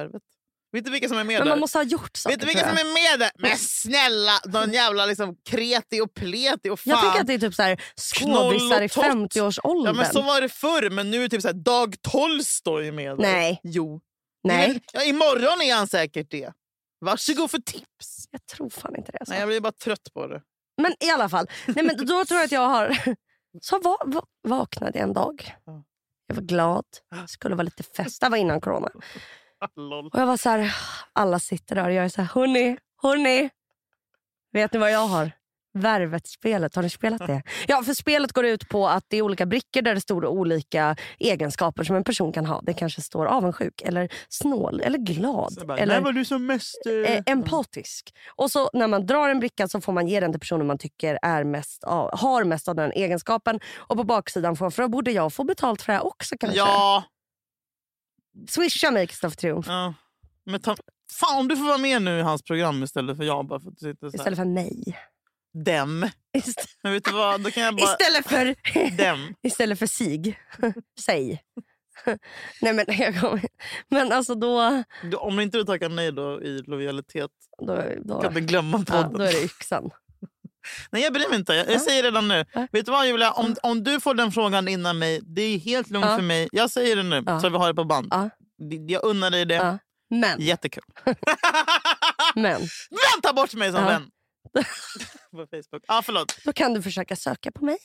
[SPEAKER 2] Vet du vilka som är med
[SPEAKER 1] Men
[SPEAKER 2] där?
[SPEAKER 1] man måste ha gjort saker
[SPEAKER 2] Vet du vilka
[SPEAKER 1] tror
[SPEAKER 2] som
[SPEAKER 1] jag.
[SPEAKER 2] är med där? Men snälla, någon jävla liksom kreti och pleti och fan.
[SPEAKER 1] jag tänker att det är typ så här skådisar
[SPEAKER 2] Knoll
[SPEAKER 1] i
[SPEAKER 2] och tott.
[SPEAKER 1] 50-årsåldern.
[SPEAKER 2] Ja, men så var det förr, men nu är typ så här, Dag Tolstoj med. där.
[SPEAKER 1] Nej.
[SPEAKER 2] Jo.
[SPEAKER 1] Nej,
[SPEAKER 2] Ja, imorgon är han säkert det. Varsågod för tips.
[SPEAKER 1] jag tror fan inte det. Alltså.
[SPEAKER 2] Nej, jag blir bara trött på det.
[SPEAKER 1] Men i alla fall, nej, men då tror jag att jag har... Så va, va, vaknade jag en dag.
[SPEAKER 2] Ja.
[SPEAKER 1] Jag var glad, skulle vara lite fest. Det var innan corona.
[SPEAKER 2] Ah, Lol.
[SPEAKER 1] Och jag var så här, alla sitter där och jag är så här, hörni, hörni. Vet ni vad jag har? Värvet-spelet, har ni spelat det? Ja, för spelet går ut på att det är olika brickor där det står olika egenskaper som en person kan ha. Det kanske står avundsjuk, eller snål, eller glad, eller
[SPEAKER 2] du som mest...
[SPEAKER 1] eh, empatisk. Och så när man drar en bricka så får man ge den till personen man tycker är mest av, har mest av den egenskapen. Och på baksidan får för borde jag få betalt för det här också kanske?
[SPEAKER 2] Ja.
[SPEAKER 1] Swisha mig Kristoffer Triumf
[SPEAKER 2] ja. Men ta... Fan, om du får vara med nu i hans program istället för jag. Bara för att du sitter så här.
[SPEAKER 1] istället för mig.
[SPEAKER 2] Dem.
[SPEAKER 1] Istället.
[SPEAKER 2] Men vet du vad, då kan jag bara...
[SPEAKER 1] Istället för,
[SPEAKER 2] Dem.
[SPEAKER 1] istället för sig. Säg. Nej men jag kommer... Men alltså då...
[SPEAKER 2] Du, om inte du tackar nej då i lojalitet
[SPEAKER 1] Då, då,
[SPEAKER 2] kan du glömma
[SPEAKER 1] ja,
[SPEAKER 2] podden.
[SPEAKER 1] då är det yxan.
[SPEAKER 2] Nej, jag bryr mig inte. Jag, jag säger redan nu.
[SPEAKER 1] Ja.
[SPEAKER 2] Vet du vad Julia, om, om du får den frågan innan mig, det är helt lugnt
[SPEAKER 1] Ja.
[SPEAKER 2] för mig. Jag säger det nu
[SPEAKER 1] Ja.
[SPEAKER 2] så vi har det på band.
[SPEAKER 1] Ja.
[SPEAKER 2] Det- Jag unnar dig det.
[SPEAKER 1] Ja. Men,
[SPEAKER 2] Jättekul.
[SPEAKER 1] men,
[SPEAKER 2] Men ta bort mig som
[SPEAKER 1] Ja.
[SPEAKER 2] vän! på Facebook. Ja, förlåt.
[SPEAKER 1] då kan du försöka söka på mig.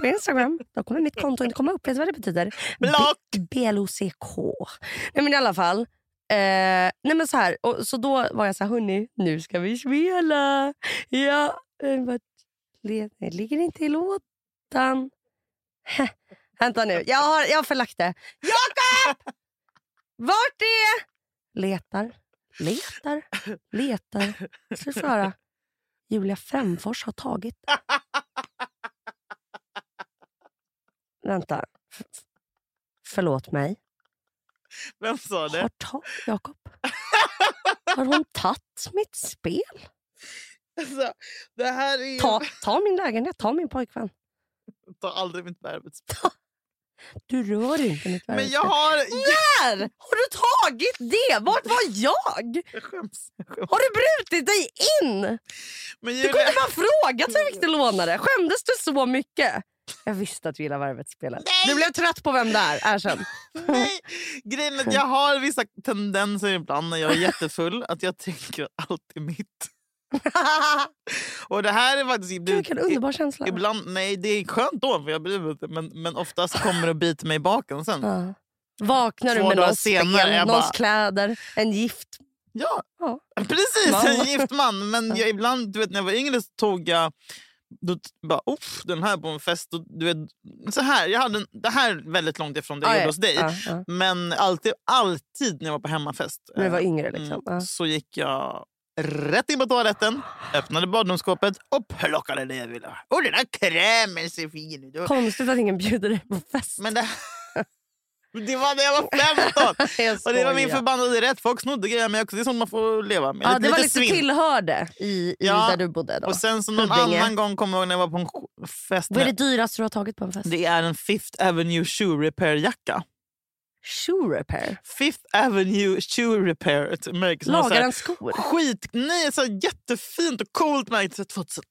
[SPEAKER 1] På Instagram. Då kommer mitt konto inte komma upp. Vet du vad det betyder?
[SPEAKER 2] Block!
[SPEAKER 1] BLOCK. Nej men i alla fall. Eh, nej men så här, och, så då var jag så här, hörni, nu ska vi spela. Ja, eh, vad- le- det ligger inte i lådan. Heh, Vänta nu, jag har, jag har förlagt det. Jakob! Vart är... Letar, letar, letar. Ska du få höra? Julia Främfors har tagit. Vänta. F- f- förlåt mig.
[SPEAKER 2] Vem sa det?
[SPEAKER 1] Har ta- Jakob? Har hon tagit mitt spel?
[SPEAKER 2] Alltså, det här är...
[SPEAKER 1] Ta, ta min lägenhet, ta min pojkvän.
[SPEAKER 2] Ta aldrig mitt värvets.
[SPEAKER 1] Du rör inte mitt
[SPEAKER 2] Men
[SPEAKER 1] världspel.
[SPEAKER 2] jag har...
[SPEAKER 1] Där! Har du tagit det? Vart var jag?
[SPEAKER 2] Jag skäms. Jag skäms.
[SPEAKER 1] Har du brutit dig in?
[SPEAKER 2] Men
[SPEAKER 1] Du kunde
[SPEAKER 2] Julia...
[SPEAKER 1] bara frågat hur mycket du
[SPEAKER 2] Mm.
[SPEAKER 1] lånade. Skämdes du så mycket? Jag visste att du gillar Värvet-spelet. Du blev trött på vem det är, erkänn.
[SPEAKER 2] Nej. Grejen är att jag har vissa tendenser ibland när jag är jättefull att jag tänker att allt är mitt. och det här är faktiskt...
[SPEAKER 1] Det är en underbar känsla.
[SPEAKER 2] Ibland, nej, det är skönt då, för jag blir lite, men, men oftast kommer det och biter mig i baken sen.
[SPEAKER 1] Ja. Vaknar du
[SPEAKER 2] Två
[SPEAKER 1] med
[SPEAKER 2] dagar
[SPEAKER 1] någons ben,
[SPEAKER 2] senare, jag
[SPEAKER 1] någons
[SPEAKER 2] bara-
[SPEAKER 1] kläder, en gift.
[SPEAKER 2] Ja,
[SPEAKER 1] Ja.
[SPEAKER 2] precis.
[SPEAKER 1] Man.
[SPEAKER 2] En gift man. Men jag, ibland, du vet, när jag var yngre så tog jag... Då t- bara, Uff, den här på en fest. Och, du vet, så här, jag hade en, det här är väldigt långt ifrån det jag
[SPEAKER 1] Ja,
[SPEAKER 2] gjorde
[SPEAKER 1] ja.
[SPEAKER 2] hos dig.
[SPEAKER 1] Ja, ja.
[SPEAKER 2] Men alltid, alltid när jag var på hemmafest
[SPEAKER 1] När du var
[SPEAKER 2] eh,
[SPEAKER 1] yngre. Liksom. Ja.
[SPEAKER 2] så gick jag rätt in på toaletten, öppnade badrumsskåpet och plockade det jag ville ha. Och den här krämen ser fin ut. Och-
[SPEAKER 1] Konstigt att ingen bjuder dig på fest.
[SPEAKER 2] Men det, det var när jag var 15!
[SPEAKER 1] Jag
[SPEAKER 2] Och det var min
[SPEAKER 1] skojar.
[SPEAKER 2] förbannade rätt. Folk snodde grejer men också. Det är sånt man får leva med.
[SPEAKER 1] Ja, det var lite
[SPEAKER 2] svinn.
[SPEAKER 1] tillhörde i, i
[SPEAKER 2] Ja,
[SPEAKER 1] där du bodde. Då.
[SPEAKER 2] Och sen som någon
[SPEAKER 1] Huddinge.
[SPEAKER 2] annan gång kommer jag ihåg när jag var på en sk- fest.
[SPEAKER 1] Vad är det
[SPEAKER 2] Med,
[SPEAKER 1] dyraste du har tagit på en fest?
[SPEAKER 2] det är en Fifth Avenue Shoe Repair-jacka.
[SPEAKER 1] Shoe repair.
[SPEAKER 2] Fifth Avenue Shoe Repair. Ett märke som har så
[SPEAKER 1] Lagar
[SPEAKER 2] här,
[SPEAKER 1] han skor?
[SPEAKER 2] skit, nej, så här jättefint och coolt märke. så 2008.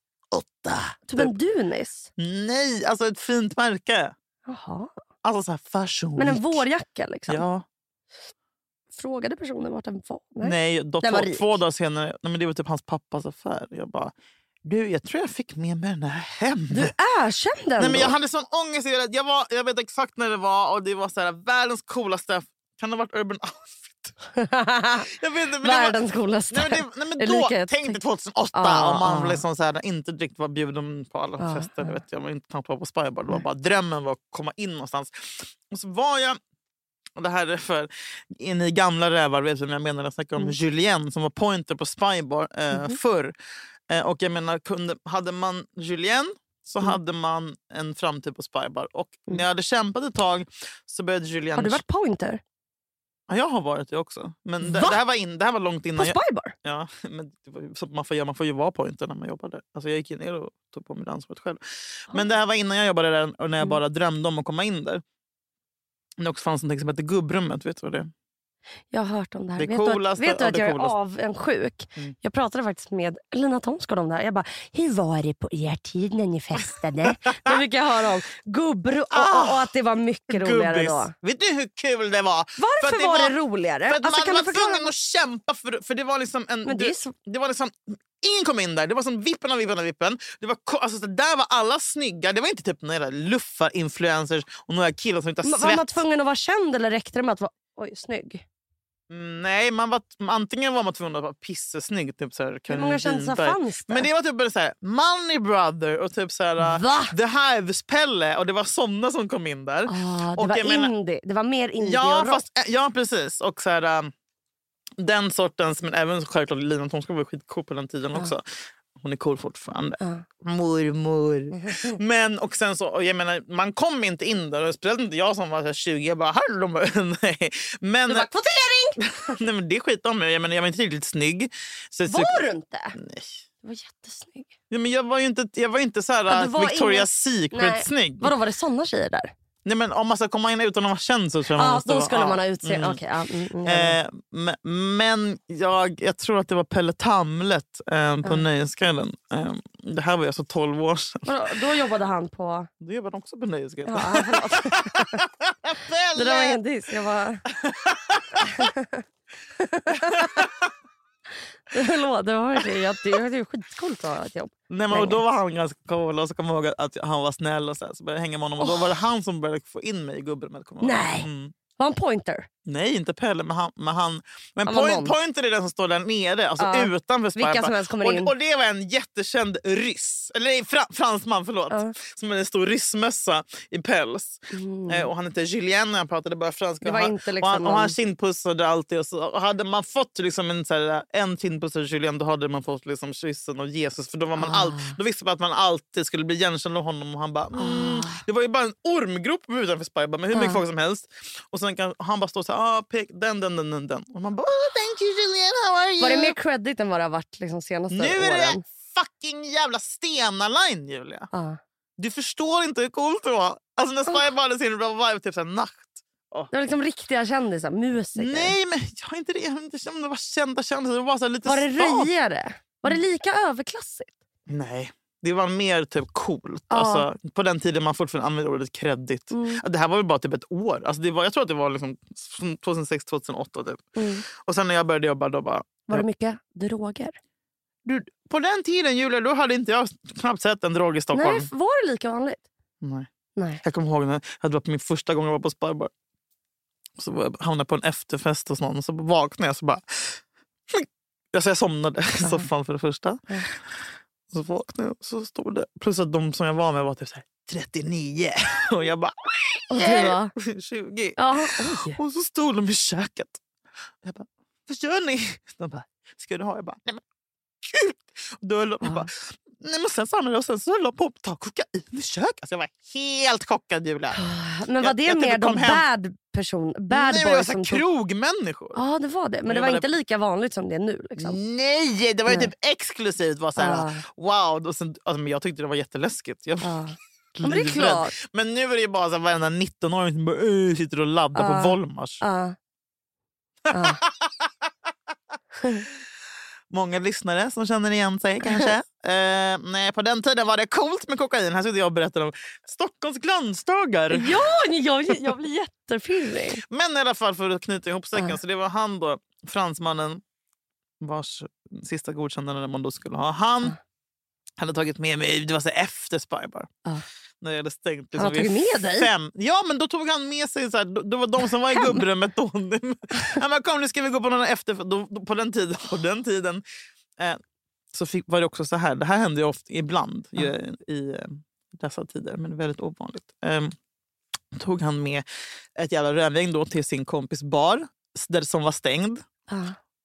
[SPEAKER 1] Typ en Dunis?
[SPEAKER 2] Nej, alltså ett fint märke.
[SPEAKER 1] Jaha.
[SPEAKER 2] Alltså så här fashion
[SPEAKER 1] Men en
[SPEAKER 2] week.
[SPEAKER 1] vårjacka liksom?
[SPEAKER 2] Ja.
[SPEAKER 1] Frågade personen vart den var? Nej.
[SPEAKER 2] Nej, då,
[SPEAKER 1] Den var
[SPEAKER 2] två,
[SPEAKER 1] rik.
[SPEAKER 2] två dagar senare. Nej, men det var typ hans pappas affär. Jag bara, du, jag tror jag fick med mig den här hem.
[SPEAKER 1] Du erkände ändå?
[SPEAKER 2] Nej, men jag hade sån ångest. i det. Jag, var, jag vet exakt när det var och det var så här, världens coolaste. Kan det ha varit Urban Outfit? Jag vet inte. Men det var,
[SPEAKER 1] Världens coolaste.
[SPEAKER 2] nej, men, det, nej, men då,
[SPEAKER 1] Ulrika, jag
[SPEAKER 2] tänk dig
[SPEAKER 1] tänkte-
[SPEAKER 2] 2008
[SPEAKER 1] Ja,
[SPEAKER 2] om man
[SPEAKER 1] ja.
[SPEAKER 2] liksom så här, inte riktigt var bjuden på alla
[SPEAKER 1] Ja,
[SPEAKER 2] fester.
[SPEAKER 1] ja.
[SPEAKER 2] Jag, vet, jag var inte knappt var på Spybar. Det var bara drömmen var att komma in någonstans. Och så var jag... Och det här är för ni gamla rävar vet vem jag menar. Jag snackar om
[SPEAKER 1] Mm.
[SPEAKER 2] Julien som var pointer på Spybar eh,
[SPEAKER 1] Mm-hmm.
[SPEAKER 2] förr. Eh, och jag menar, kunde, hade man Julien så
[SPEAKER 1] Mm.
[SPEAKER 2] hade man en framtid på Spybar. Och när jag hade kämpat ett tag så började Julien...
[SPEAKER 1] Har du varit pointer?
[SPEAKER 2] Ja, jag har varit det också. Men det,
[SPEAKER 1] Va?
[SPEAKER 2] det, här var in, det här var långt
[SPEAKER 1] På
[SPEAKER 2] innan... jag-
[SPEAKER 1] Spybar?
[SPEAKER 2] Ja, men det var ju så man, får, göra- man får ju vara pointer när man jobbar där. Alltså jag gick ju ner och tog på mig det ansvaret själv. Men det här var innan jag jobbade där och när
[SPEAKER 1] Mm.
[SPEAKER 2] jag bara drömde om att komma in där. Det också fanns något som hette gubbrummet. Vet du vad det är?
[SPEAKER 1] Jag har hört om det här.
[SPEAKER 2] Det
[SPEAKER 1] vet du att,
[SPEAKER 2] coolaste
[SPEAKER 1] vet du
[SPEAKER 2] av
[SPEAKER 1] att
[SPEAKER 2] det
[SPEAKER 1] jag
[SPEAKER 2] coolaste.
[SPEAKER 1] är av en sjuk?
[SPEAKER 2] Mm.
[SPEAKER 1] Jag pratade faktiskt med Lina Thomsgård om det här. Jag bara, hur var det på er tid när ni festade? Då fick jag höra om gubbro och, och, och att det var mycket roligare
[SPEAKER 2] Ah! Gubbis.
[SPEAKER 1] då.
[SPEAKER 2] Vet du hur kul det var? För
[SPEAKER 1] Varför
[SPEAKER 2] att det
[SPEAKER 1] var,
[SPEAKER 2] var-
[SPEAKER 1] det roligare?
[SPEAKER 2] För att
[SPEAKER 1] Alltså,
[SPEAKER 2] man
[SPEAKER 1] kan
[SPEAKER 2] var
[SPEAKER 1] du förklara?
[SPEAKER 2] tvungen att kämpa för, för det var liksom en...
[SPEAKER 1] Men det
[SPEAKER 2] du-
[SPEAKER 1] är så-
[SPEAKER 2] det var liksom, ingen kom in där. Det var som vippen av vippen av vippen. Det var, ko- alltså, så där var alla snygga. Det var inte typ några luffar, influencers och några killar som inte har
[SPEAKER 1] Ma-
[SPEAKER 2] svett.
[SPEAKER 1] Var man tvungen att vara känd eller räckte det med att vara oj, snygg?
[SPEAKER 2] Mm, Nej, man var, antingen var man tvungen att vara pissesnygg. Typ så här,
[SPEAKER 1] Hur
[SPEAKER 2] Caroline
[SPEAKER 1] många kändisar
[SPEAKER 2] Winberg.
[SPEAKER 1] fanns det?
[SPEAKER 2] Men det var typ bara så här, Money Brother och typ så här,
[SPEAKER 1] Va?
[SPEAKER 2] The Hives-Pelle. Och det var såna som kom in där.
[SPEAKER 1] Ah, det,
[SPEAKER 2] Och
[SPEAKER 1] var
[SPEAKER 2] jag menar-
[SPEAKER 1] indie. det var mer indie
[SPEAKER 2] Ja,
[SPEAKER 1] och rock.
[SPEAKER 2] fast, eh, ja precis. Och så här, um, den sortens, men även självklart Lina Thomsgård var skitcool på den tiden också. Hon är cool fortfarande. Mormor. Men och sen så, och jag menar, man kom inte in där. Och speciellt inte jag som var så här 20. Jag bara, hallå. Nej. Men,
[SPEAKER 1] Du bara, kvotering!
[SPEAKER 2] nej, men det skit om mig. Jag, menar, jag var inte riktigt snygg. Så, så,
[SPEAKER 1] Var du inte?
[SPEAKER 2] nej.
[SPEAKER 1] Du var jättesnygg.
[SPEAKER 2] Ja, men jag var ju inte, jag var ju inte så här,
[SPEAKER 1] Ja, du var
[SPEAKER 2] Victoria's
[SPEAKER 1] ingen-
[SPEAKER 2] Secret-snygg.
[SPEAKER 1] Vadå, var det såna tjejer där?
[SPEAKER 2] Nej, men om man ska komma in utan att vara känd så tror jag man
[SPEAKER 1] Ja,
[SPEAKER 2] måste
[SPEAKER 1] då
[SPEAKER 2] vara-
[SPEAKER 1] skulle
[SPEAKER 2] ja,
[SPEAKER 1] man ha utse...
[SPEAKER 2] mm.
[SPEAKER 1] Okej, ja, mm, mm, jag vet.
[SPEAKER 2] Eh, men men jag, jag tror att det var Pelle Tamlet eh, på Nöjesguiden. Eh, det här var ju alltså 12 år sedan.
[SPEAKER 1] Vadå, då jobbade han på...
[SPEAKER 2] Då jobbade han också på Nöjesguiden.
[SPEAKER 1] Ja, förlåt. Det där var
[SPEAKER 2] Pelle!
[SPEAKER 1] ingen diss. Jag bara... Förlåt, det var verkligen jätte- det var ju skitcoolt att ha ett jobb.
[SPEAKER 2] Nej, men, och då var han ganska cool och så kommer jag ihåg att han var snäll och så, här, så började jag hänga med honom. Och då var det han som började få in mig i gubbrummet. kommer jag ihåg.
[SPEAKER 1] Nej.
[SPEAKER 2] Mm.
[SPEAKER 1] Var han pointer?
[SPEAKER 2] Nej, inte Pelle. Men, han, men, han, men
[SPEAKER 1] Han var
[SPEAKER 2] point,
[SPEAKER 1] någon.
[SPEAKER 2] pointer är den som står där nere, alltså
[SPEAKER 1] Ja.
[SPEAKER 2] utanför
[SPEAKER 1] Vilka
[SPEAKER 2] Sparpa.
[SPEAKER 1] som helst kommer
[SPEAKER 2] och,
[SPEAKER 1] in.
[SPEAKER 2] och det var en jättekänd ryss, eller nej, fra, fransman förlåt,
[SPEAKER 1] Ja. Mm.
[SPEAKER 2] som hade en stor ryssmössa i päls. Eh, och han hette Julien när han pratade bara franska.
[SPEAKER 1] Det var
[SPEAKER 2] Och han,
[SPEAKER 1] inte liksom
[SPEAKER 2] och han, och han
[SPEAKER 1] någon-
[SPEAKER 2] kindpussade alltid. Och så, och hade man fått liksom en, så här, en kindpuss av Julien då hade man fått liksom kyssen av Jesus. För då, var man all,
[SPEAKER 1] Ah.
[SPEAKER 2] då visste man att man alltid skulle bli igenkänd av honom. Och han bara,
[SPEAKER 1] Ah.
[SPEAKER 2] mm. Det var ju bara en ormgrop utanför Spybar med hur mycket folk som helst. Och sen kan han bara stå så här, ah, pek, den, den, den, den, den. Och man bara, oh, thank you Julien, how are you?
[SPEAKER 1] Var det mer credit än vad det har varit liksom, senaste
[SPEAKER 2] nu
[SPEAKER 1] åren?
[SPEAKER 2] är det fucking jävla Stena Line Julia.
[SPEAKER 1] Ja.
[SPEAKER 2] Du förstår inte hur coolt det var.
[SPEAKER 1] Oh.
[SPEAKER 2] Alltså när Spybar hade sin revive typ så här, nacht.
[SPEAKER 1] Det var liksom riktiga kändisar, musiker.
[SPEAKER 2] Nej, men jag har inte det. Jag vet inte om det var kända kändisar. Det var så här lite
[SPEAKER 1] var det
[SPEAKER 2] stat-
[SPEAKER 1] röjare? Var det lika överklassigt?
[SPEAKER 2] Nej, det var mer typ coolt.
[SPEAKER 1] Ja. Mm.
[SPEAKER 2] Alltså, på den tiden man fortfarande använde ordet kredit. Det här var väl bara typ ett år. Alltså, det var, jag tror att det var liksom mm. 2006-2008. Typ. Och sen när jag började jobba då bara...
[SPEAKER 1] Var det mycket droger?
[SPEAKER 2] Du, på den tiden, Julia, då hade inte jag knappt sett en drog i Stockholm.
[SPEAKER 1] Nej, var det lika vanligt?
[SPEAKER 2] Nej.
[SPEAKER 1] Nej.
[SPEAKER 2] Jag kommer ihåg när jag var på min första gång jag var på sparbar. Så var jag- hamnade jag på en efterfest hos någon och så vaknade jag så bara... Alltså jag somnade i soffan för det första.
[SPEAKER 1] Ja.
[SPEAKER 2] Så vaknade jag och så stod det... Plus att de som jag var med var typ så här, 39 och jag bara
[SPEAKER 1] Och
[SPEAKER 2] Eh.
[SPEAKER 1] du va?
[SPEAKER 2] 20.
[SPEAKER 1] Ja, oj.
[SPEAKER 2] Och så stod de i köket. Jag bara, vad gör ni? De bara, ska du ha? Jag bara, nej men gud! Och då höll de, jag bara, nej men sen sa han det och sen så höll de på att ta kokain i köket. Alltså jag var helt chockad Julia.
[SPEAKER 1] Ah, Men var
[SPEAKER 2] Jag-
[SPEAKER 1] det
[SPEAKER 2] jag typ
[SPEAKER 1] mer de
[SPEAKER 2] kom hem-
[SPEAKER 1] bad, person, bad
[SPEAKER 2] nej, men jag var
[SPEAKER 1] boys
[SPEAKER 2] så
[SPEAKER 1] som
[SPEAKER 2] här
[SPEAKER 1] tog...
[SPEAKER 2] krogmänniskor.
[SPEAKER 1] Ja, det var det. Men det
[SPEAKER 2] Jag
[SPEAKER 1] var
[SPEAKER 2] bara-
[SPEAKER 1] inte lika vanligt som det är nu. Liksom. Ah,
[SPEAKER 2] Nej, det var ju
[SPEAKER 1] Nej.
[SPEAKER 2] typ exklusivt. Var så här, Wow! Och sen, alltså, men jag tyckte det var jätteläskigt. Jag var
[SPEAKER 1] Ja. ah. Ja, men det är
[SPEAKER 2] livrädd.
[SPEAKER 1] klart.
[SPEAKER 2] Men nu är det ju bara så här, varenda 19-åring som bara, "Åh, sitter och laddar
[SPEAKER 1] Ja.
[SPEAKER 2] på Volmars.
[SPEAKER 1] Ja. Ja.
[SPEAKER 2] Många lyssnare som känner igen sig kanske. Eh, nej, på den tiden var det coolt med kokain. Här sitter jag och berättar om Stockholms glansdagar.
[SPEAKER 1] Ja, nej, jag, jag blir jättefirrig.
[SPEAKER 2] Men i alla fall för att knyta ihop säcken.
[SPEAKER 1] Ja.
[SPEAKER 2] Så det var han då, fransmannen vars sista godkännande man då skulle ha. Han hade tagit med mig, det var så här efter Spybar.
[SPEAKER 1] Ja.
[SPEAKER 2] När jag hade stängt liksom
[SPEAKER 1] Han har
[SPEAKER 2] vid
[SPEAKER 1] tagit med dig?
[SPEAKER 2] Fem. Ja, men då tog han med sig... Så här, då, då var de som var i gubbrummet då. ja, men kom, nu ska vi gå på någon efter... Då, då, på den tiden, på den tiden eh, så fick, var det också så här. Det här hände ju ofta, ibland ju, i eh, dessa tider, men väldigt ovanligt. Ehm, tog han med ett jävla rödvin då till sin kompis bar s- där, som var stängd.
[SPEAKER 1] Ja.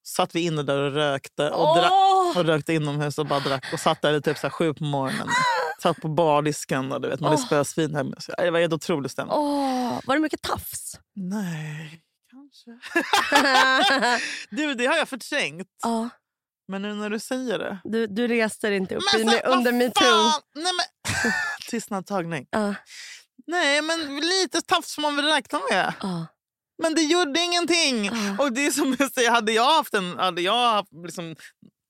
[SPEAKER 2] Satt vi inne där och rökte och, drack,
[SPEAKER 1] Ah. Åh!
[SPEAKER 2] och rökte inomhus och bara drack. Och satt där i typ så här sju på morgonen. Satt på bardisken och du vet, man är
[SPEAKER 1] Åh.
[SPEAKER 2] spösvin hemma. Så Det var helt otrolig stämning.
[SPEAKER 1] Åh, var det mycket tafs?
[SPEAKER 2] Nej, kanske. Du, det har jag förträngt.
[SPEAKER 1] ja,
[SPEAKER 2] Men nu när du säger det.
[SPEAKER 1] Ah, du, du reste dig inte upp
[SPEAKER 2] Men
[SPEAKER 1] i,
[SPEAKER 2] så- vad
[SPEAKER 1] under metoo. Ah,
[SPEAKER 2] fan! Nej, men... Tystnad tagning.
[SPEAKER 1] Ja,
[SPEAKER 2] Nej, men lite tafs får man väl räkna med.
[SPEAKER 1] ja.
[SPEAKER 2] Men det gjorde ingenting.
[SPEAKER 1] Ja.
[SPEAKER 2] Och det är som jag säger, hade jag haft en... Hade jag, haft, liksom,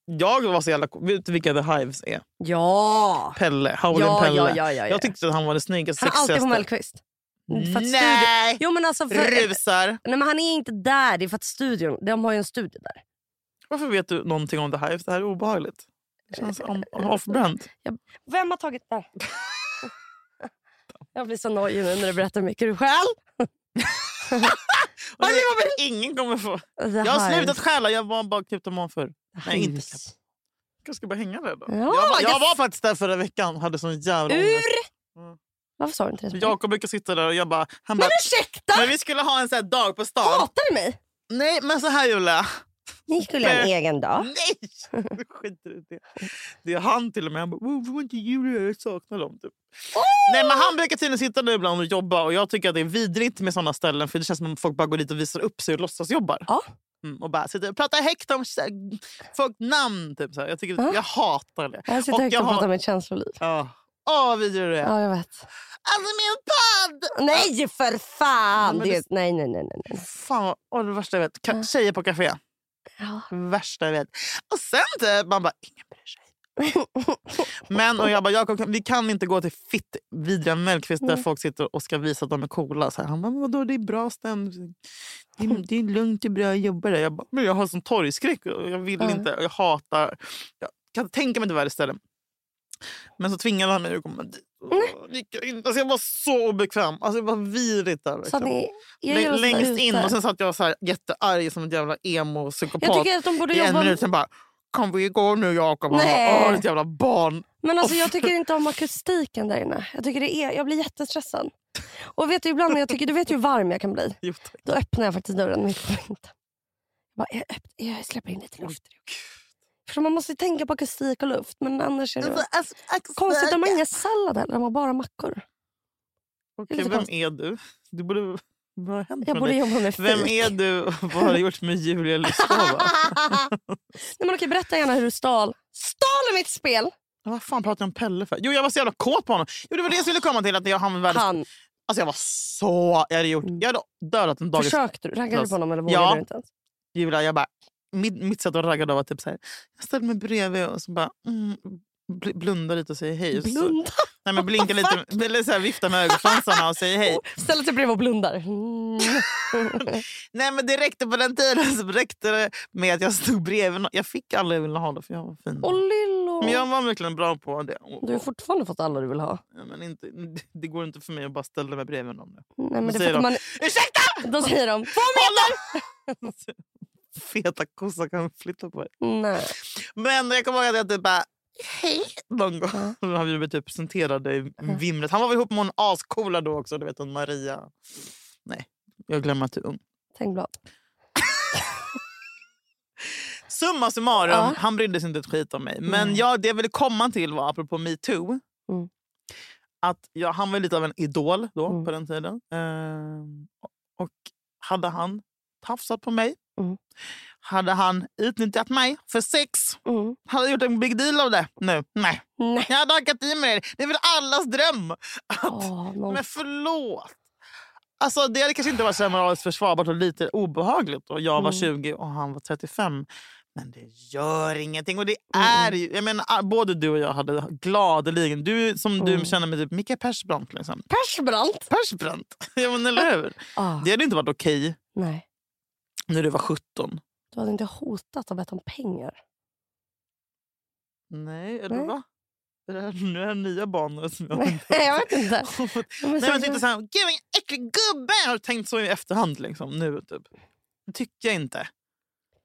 [SPEAKER 2] jag var så jävla... Vet du vilka The Hives är?
[SPEAKER 1] Ja.
[SPEAKER 2] Pelle.
[SPEAKER 1] Ja,
[SPEAKER 2] Howlin'
[SPEAKER 1] ja,
[SPEAKER 2] Pelle.
[SPEAKER 1] ja, ja, ja.
[SPEAKER 2] Jag tyckte att han var den snyggaste,
[SPEAKER 1] han är alltid på
[SPEAKER 2] sexigaste.
[SPEAKER 1] Mellqvist. För att studio-
[SPEAKER 2] Nej!
[SPEAKER 1] Jo, men alltså för,
[SPEAKER 2] Rusar.
[SPEAKER 1] nej, men han är inte där. Det är för att studion, de har ju en studio där.
[SPEAKER 2] Varför vet du någonting om The Hives? Det här är obehagligt. Det känns om- off-brand.
[SPEAKER 1] Vem har tagit det? Jag blir så nojig nu när du berättar hur mycket du själv.
[SPEAKER 2] Och det kommer ingen kommer få. Jag har slutat stjäla. Jag var bara kleptoman förr. Nej, inte kleptoman. Jag ska bara hänga där då.
[SPEAKER 1] Ja,
[SPEAKER 2] jag, var,
[SPEAKER 1] jag-
[SPEAKER 2] jag var faktiskt där förra veckan. Hade sån jävla
[SPEAKER 1] Ur?
[SPEAKER 2] ångest. Mm.
[SPEAKER 1] Varför sa du inte det?
[SPEAKER 2] Jakob brukar sitta där och jag bara... Han
[SPEAKER 1] Men
[SPEAKER 2] bara
[SPEAKER 1] ursäkta!
[SPEAKER 2] men vi skulle ha en sån här dag på stan.
[SPEAKER 1] Hatar du mig?
[SPEAKER 2] Nej, men så här Julia.
[SPEAKER 1] Ni skulle ha en egen dag.
[SPEAKER 2] Nej! Du skiter i det. Det är han till och med. Han bara, "Åh, var inte Julia, jag saknar dem. Typ. Nej, men han brukar tydligen sitta där ibland och jobba och jag tycker att det är vidrigt med såna ställen för det känns som att folk bara går dit och visar upp sig och låtsas jobbar.
[SPEAKER 1] Ja.
[SPEAKER 2] Mm, och bara sitter och pratar högt om så här, folk namn. Typ, så här. Jag, tycker,
[SPEAKER 1] Ja.
[SPEAKER 2] jag hatar det.
[SPEAKER 1] Jag sitter
[SPEAKER 2] Och
[SPEAKER 1] högt
[SPEAKER 2] jag
[SPEAKER 1] och pratar
[SPEAKER 2] har-
[SPEAKER 1] om mitt känsloliv.
[SPEAKER 2] Ja. Åh, vad vidrig du är.
[SPEAKER 1] Ja, jag vet.
[SPEAKER 2] Alltså min podd!
[SPEAKER 1] Nej, för fan!
[SPEAKER 2] Men
[SPEAKER 1] Det...
[SPEAKER 2] det-
[SPEAKER 1] Nej, nej, nej. nej, nej.
[SPEAKER 2] Fan, vad- åh, det värsta jag vet. Ka- Tjejer på café.
[SPEAKER 1] Ja.
[SPEAKER 2] värsta jag vet. Och sen typ, man bara, ingen bryr sig. Men och jag bara, Jakob, kan- vi kan inte gå till fitt vidriga Mellqvist
[SPEAKER 1] Mm.
[SPEAKER 2] där folk sitter och ska visa att de är coola. Så här, han bara, men vadå det är bra stämning. Det är, det är lugnt, det är bra, jag jobbar där. Jag bara, men jag har sån torgskräck och jag vill
[SPEAKER 1] Mm.
[SPEAKER 2] inte, och jag hatar. Jag kan tänka mig inte värre ställen. Men så tvingade han mig att komma dit.
[SPEAKER 1] Mm.
[SPEAKER 2] Och det gick jag in. Alltså jag var så obekväm. Alltså jag var vidrigt där.
[SPEAKER 1] Så att
[SPEAKER 2] verkligen.
[SPEAKER 1] ni, jag
[SPEAKER 2] Läng-
[SPEAKER 1] gör oss
[SPEAKER 2] Längst
[SPEAKER 1] ute.
[SPEAKER 2] in och sen satt jag så här jättearg som en jävla emo-psykopat
[SPEAKER 1] Jag tycker att de borde
[SPEAKER 2] i en
[SPEAKER 1] jobba...
[SPEAKER 2] minut, sen bara “Kan vi gå nu Jakob?” Han
[SPEAKER 1] Nej.
[SPEAKER 2] bara “Åh ditt jävla barn”.
[SPEAKER 1] Men alltså, jag tycker inte om akustiken där inne. Jag, tycker det är, jag blir jättestressad. Och vet du, ibland när jag tycker, du vet ju hur varm jag kan bli.
[SPEAKER 2] Jo, tack.
[SPEAKER 1] Då öppnar jag faktiskt dörren mitt på vintern. Jag, bara, jag, öpp- jag släpper in lite luft. För man måste ju tänka på akustik och luft. Men annars är
[SPEAKER 2] Alltså,
[SPEAKER 1] det konstigt. De har inga sallad heller, de har bara mackor.
[SPEAKER 2] Okej,
[SPEAKER 1] lite
[SPEAKER 2] vem
[SPEAKER 1] konstigt.
[SPEAKER 2] är du? Du borde... Vad har hänt
[SPEAKER 1] Jag
[SPEAKER 2] med
[SPEAKER 1] borde
[SPEAKER 2] dig?
[SPEAKER 1] jobba med fik.
[SPEAKER 2] Vem är du och vad har du gjort med Julia Lyskova?
[SPEAKER 1] Nej, men okej, berätta gärna hur du stal. Stal i mitt spel!
[SPEAKER 2] vad fan pratar jag om Pelle för? Jo, jag var så jävla kåt på honom. Jo, det var det jag skulle komma till. Att jag, han världens...
[SPEAKER 1] Han. Mm.
[SPEAKER 2] alltså, jag var så... Jag hade, gjort... jag hade dödat en dagis...
[SPEAKER 1] Försökte du? Raggade du på honom eller
[SPEAKER 2] Ja.
[SPEAKER 1] vågade du inte ens?
[SPEAKER 2] Julia, jag bara, mitt, mitt sätt att ragga då var typ så här. Jag ställde mig bredvid och så bara mm, bl- blundade lite och säger hej. Så-
[SPEAKER 1] Blunda.
[SPEAKER 2] Nej, men blinka lite, eller så här, vifta med ögonfransarna och säga hej.
[SPEAKER 1] Ställer sig bredvid och blundar. Mm.
[SPEAKER 2] Nej, men det räckte på den tiden så räckte det med att jag stod bredvid någon. Jag fick alla jag ville ha det för jag var fin.
[SPEAKER 1] Åh, lillo.
[SPEAKER 2] Men jag var verkligen bra på det. Och-
[SPEAKER 1] Du har fortfarande fått alla du vill ha.
[SPEAKER 2] Ja, Men inte, det går inte för mig att bara ställa mig bredvid någon. nu.
[SPEAKER 1] Nej, men
[SPEAKER 2] Vad
[SPEAKER 1] det
[SPEAKER 2] säger
[SPEAKER 1] är för att
[SPEAKER 2] de?
[SPEAKER 1] man,
[SPEAKER 2] Ursäkta!
[SPEAKER 1] då säger de...
[SPEAKER 2] Hålla! Feta kossar kan flytta på er.
[SPEAKER 1] Nej.
[SPEAKER 2] Men jag kommer ihåg att jag typ bara... Hej! Någon gång. Då har vi blivit typ presenterade i vimlet. Han var väl ihop med hon ascoola då också. Du vet hon Maria. Nej, jag glömmer att du är ung.
[SPEAKER 1] Tängblad.
[SPEAKER 2] Summa summarum,
[SPEAKER 1] Ja.
[SPEAKER 2] han brydde sig inte ett skit om mig. Men
[SPEAKER 1] Nej.
[SPEAKER 2] jag, det jag ville komma till var, apropå metoo,
[SPEAKER 1] Mm.
[SPEAKER 2] att jag, han var lite av en idol då
[SPEAKER 1] Mm.
[SPEAKER 2] på den tiden. Ehm, och hade han tafsat på mig,
[SPEAKER 1] Mm.
[SPEAKER 2] hade han utnyttjat mig för sex,
[SPEAKER 1] Mm.
[SPEAKER 2] hade jag gjort en big deal av det nu? Nej.
[SPEAKER 1] Nej.
[SPEAKER 2] Jag hade hackat i mig det. Det är väl allas dröm?
[SPEAKER 1] Åh, någon...
[SPEAKER 2] Men förlåt. Alltså, det hade kanske inte varit så här moraliskt försvarbart och lite obehagligt. Och jag var
[SPEAKER 1] Mm.
[SPEAKER 2] 20 och han var 35. Men det gör ingenting. Och det är ju, jag menar, ah, både du och jag hade gladeligen... Du som du
[SPEAKER 1] Mm.
[SPEAKER 2] känner mig typ Mikael Persbrandt. Liksom.
[SPEAKER 1] Persbrandt!
[SPEAKER 2] Persbrandt? ja, men eller hur?
[SPEAKER 1] Ah,
[SPEAKER 2] Det hade inte varit okej
[SPEAKER 1] Nej.
[SPEAKER 2] när du var 17.
[SPEAKER 1] Du hade inte hotat och bett om pengar.
[SPEAKER 2] Nej, eller
[SPEAKER 1] Nej.
[SPEAKER 2] va? Det här, nu är det nya banor som jag
[SPEAKER 1] Nej, jag vet inte. Men sen-
[SPEAKER 2] Nej, men jag tänkte så här, gud vilken äcklig gubbe! Jag har tänkt så i efterhand. Liksom, nu typ. Det tycker jag inte.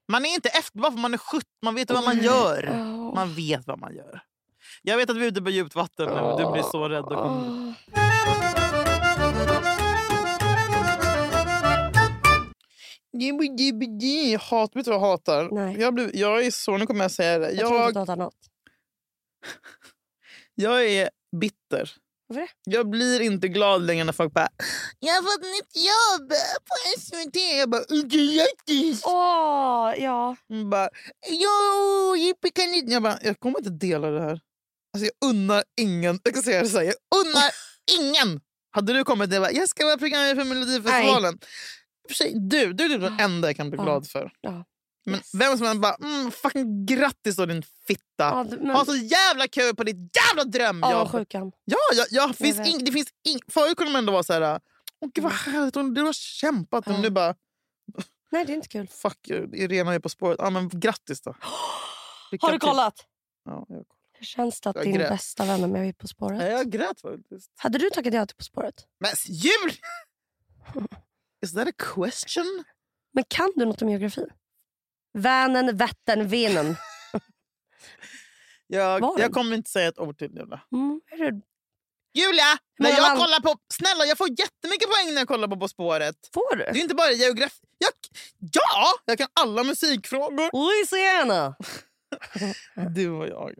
[SPEAKER 2] Man är inte efter bara för man är 70. Man vet vad man gör.
[SPEAKER 1] Åh.
[SPEAKER 2] Man vet vad man gör. Jag vet att vi är ute på djupt vatten nu. och Du blir så rädd. Och kommer...
[SPEAKER 1] Åh.
[SPEAKER 2] Jibbi, jibbi, ji. Hat, vet du vad jag hatar?
[SPEAKER 1] Nej.
[SPEAKER 2] Jag, blev, jag är så, nu kommer jag säga det.
[SPEAKER 1] Jag tror inte att du
[SPEAKER 2] Jag,
[SPEAKER 1] hatar något.
[SPEAKER 2] jag är bitter.
[SPEAKER 1] Varför det?
[SPEAKER 2] Jag blir inte glad längre när folk bara “Jag har fått nytt jobb på SVT”. Jag bara “Okej, grattis!”
[SPEAKER 1] Åh, ja.
[SPEAKER 2] Hon bara “Jo, jippikanit!” Jag bara, jag kommer inte dela det här. Alltså jag unnar ingen, jag kan säga det så här, jag unnar ingen! Hade du kommit och bara, jag ska vara programledare för Melodifestivalen. I och För sig, du, du är typ den enda jag kan bli
[SPEAKER 1] Ah. Ja.
[SPEAKER 2] glad för.
[SPEAKER 1] Ja.
[SPEAKER 2] Men
[SPEAKER 1] Yes.
[SPEAKER 2] vem som än bara, mm, fucking grattis då din fitta.
[SPEAKER 1] ja du- men,
[SPEAKER 2] Ha så jävla kul på ditt jävla drömjobb!
[SPEAKER 1] avundsjukan.
[SPEAKER 2] Ja, ja, ja finns
[SPEAKER 1] vet. Mm.
[SPEAKER 2] ing, det finns ing, förut kunde man ändå vara så här, åh gud vad härligt, hon- du har kämpat. Men
[SPEAKER 1] Ja.
[SPEAKER 2] nu bara,
[SPEAKER 1] Nej, det är inte kul.
[SPEAKER 2] fuck, Irena är på spåret. Ja, men grattis då. Lycka
[SPEAKER 1] Har du
[SPEAKER 2] till.
[SPEAKER 1] kollat?
[SPEAKER 2] Ja, jag,
[SPEAKER 1] Hur känns det att
[SPEAKER 2] typ- Jag
[SPEAKER 1] din
[SPEAKER 2] grät.
[SPEAKER 1] bästa vän är med i På spåret?
[SPEAKER 2] Nej, jag grät faktiskt.
[SPEAKER 1] Hade du tackat ja till På spåret?
[SPEAKER 2] Men jul! Is that a question?
[SPEAKER 1] Men kan du något om geografi? Vänern, Vättern, Venen. Var
[SPEAKER 2] Jag,
[SPEAKER 1] den?
[SPEAKER 2] jag kommer inte säga ett ord till Julia.
[SPEAKER 1] Mm, är det-
[SPEAKER 2] Julia!
[SPEAKER 1] Hur
[SPEAKER 2] När
[SPEAKER 1] många
[SPEAKER 2] jag
[SPEAKER 1] land-
[SPEAKER 2] kollar på, snälla, jag får jättemycket poäng när jag kollar på På spåret.
[SPEAKER 1] får
[SPEAKER 2] Det
[SPEAKER 1] du?
[SPEAKER 2] är inte bara geografi. Jag, ja, jag kan alla musikfrågor.
[SPEAKER 1] Louisiana!
[SPEAKER 2] Du och jag.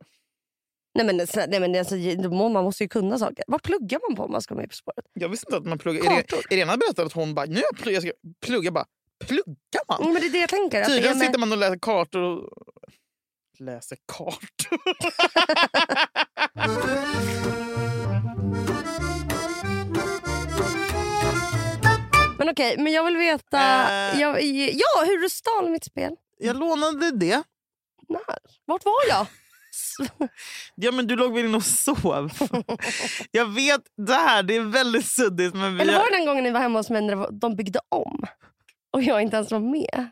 [SPEAKER 1] Nej men, snä- nej, men alltså, då må- man måste ju kunna saker. Vad pluggar man på om man ska med På spåret?
[SPEAKER 2] Jag visste inte att man pluggar. Irene,
[SPEAKER 1] Kartor?
[SPEAKER 2] Irena berättade att hon bara, nu jag pluggar, jag ska plugga. Jag bara, pluggar man?
[SPEAKER 1] Mm, men det är det jag tänker. att det är
[SPEAKER 2] Tydligen
[SPEAKER 1] med-
[SPEAKER 2] sitter man och läser kartor och... Läser kartor?
[SPEAKER 1] Men okej, men jag vill veta...
[SPEAKER 2] Eh.
[SPEAKER 1] Jag, ja, hur du stal mitt spel.
[SPEAKER 2] Jag lånade det.
[SPEAKER 1] När? Vart var jag?
[SPEAKER 2] Ja, men du låg väl inne och sov? jag vet, det här det är väldigt suddigt. Men vi
[SPEAKER 1] Eller
[SPEAKER 2] har-
[SPEAKER 1] var det den gången ni var hemma hos mig när det var- de byggde om? Och jag inte ens var med.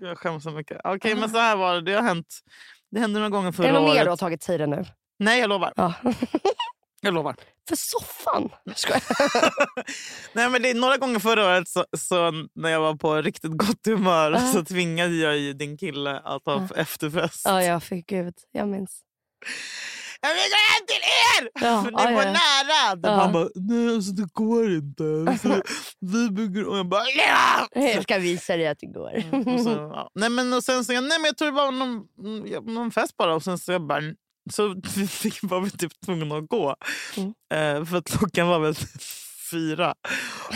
[SPEAKER 2] Jag skäms så mycket. Okej, men så här var det. Det har hänt. Det hände några gånger
[SPEAKER 1] Är det
[SPEAKER 2] förra
[SPEAKER 1] något mer
[SPEAKER 2] året.
[SPEAKER 1] du har tagit tiden nu?
[SPEAKER 2] Nej, jag lovar.
[SPEAKER 1] Ja.
[SPEAKER 2] Jag lovar.
[SPEAKER 1] För soffan! Skojar.
[SPEAKER 2] Nej, men det är några gånger förra året så, så när jag var på riktigt gott humör
[SPEAKER 1] Ja.
[SPEAKER 2] så tvingade jag ju din kille att ha
[SPEAKER 1] Ja.
[SPEAKER 2] efterfest.
[SPEAKER 1] Ja, jag fick gud. Jag minns.
[SPEAKER 2] Jag vill gå hem till er!
[SPEAKER 1] Ja,
[SPEAKER 2] För ni
[SPEAKER 1] ja,
[SPEAKER 2] var
[SPEAKER 1] ja.
[SPEAKER 2] nära.
[SPEAKER 1] Ja.
[SPEAKER 2] Han bara, nej alltså det går inte. Så, vi bygger... Och jag bara, ja!
[SPEAKER 1] Jag ska visa dig att det går.
[SPEAKER 2] Mm, Och så,
[SPEAKER 1] Mm.
[SPEAKER 2] ja. nej, men, och sen så, jag- nej men jag tror det var någon, mm, ja, någon fest bara och sen så jag bara så vi fick- var vi typ tvungna att gå.
[SPEAKER 1] Mm.
[SPEAKER 2] Eh, för att klockan var väl fyra.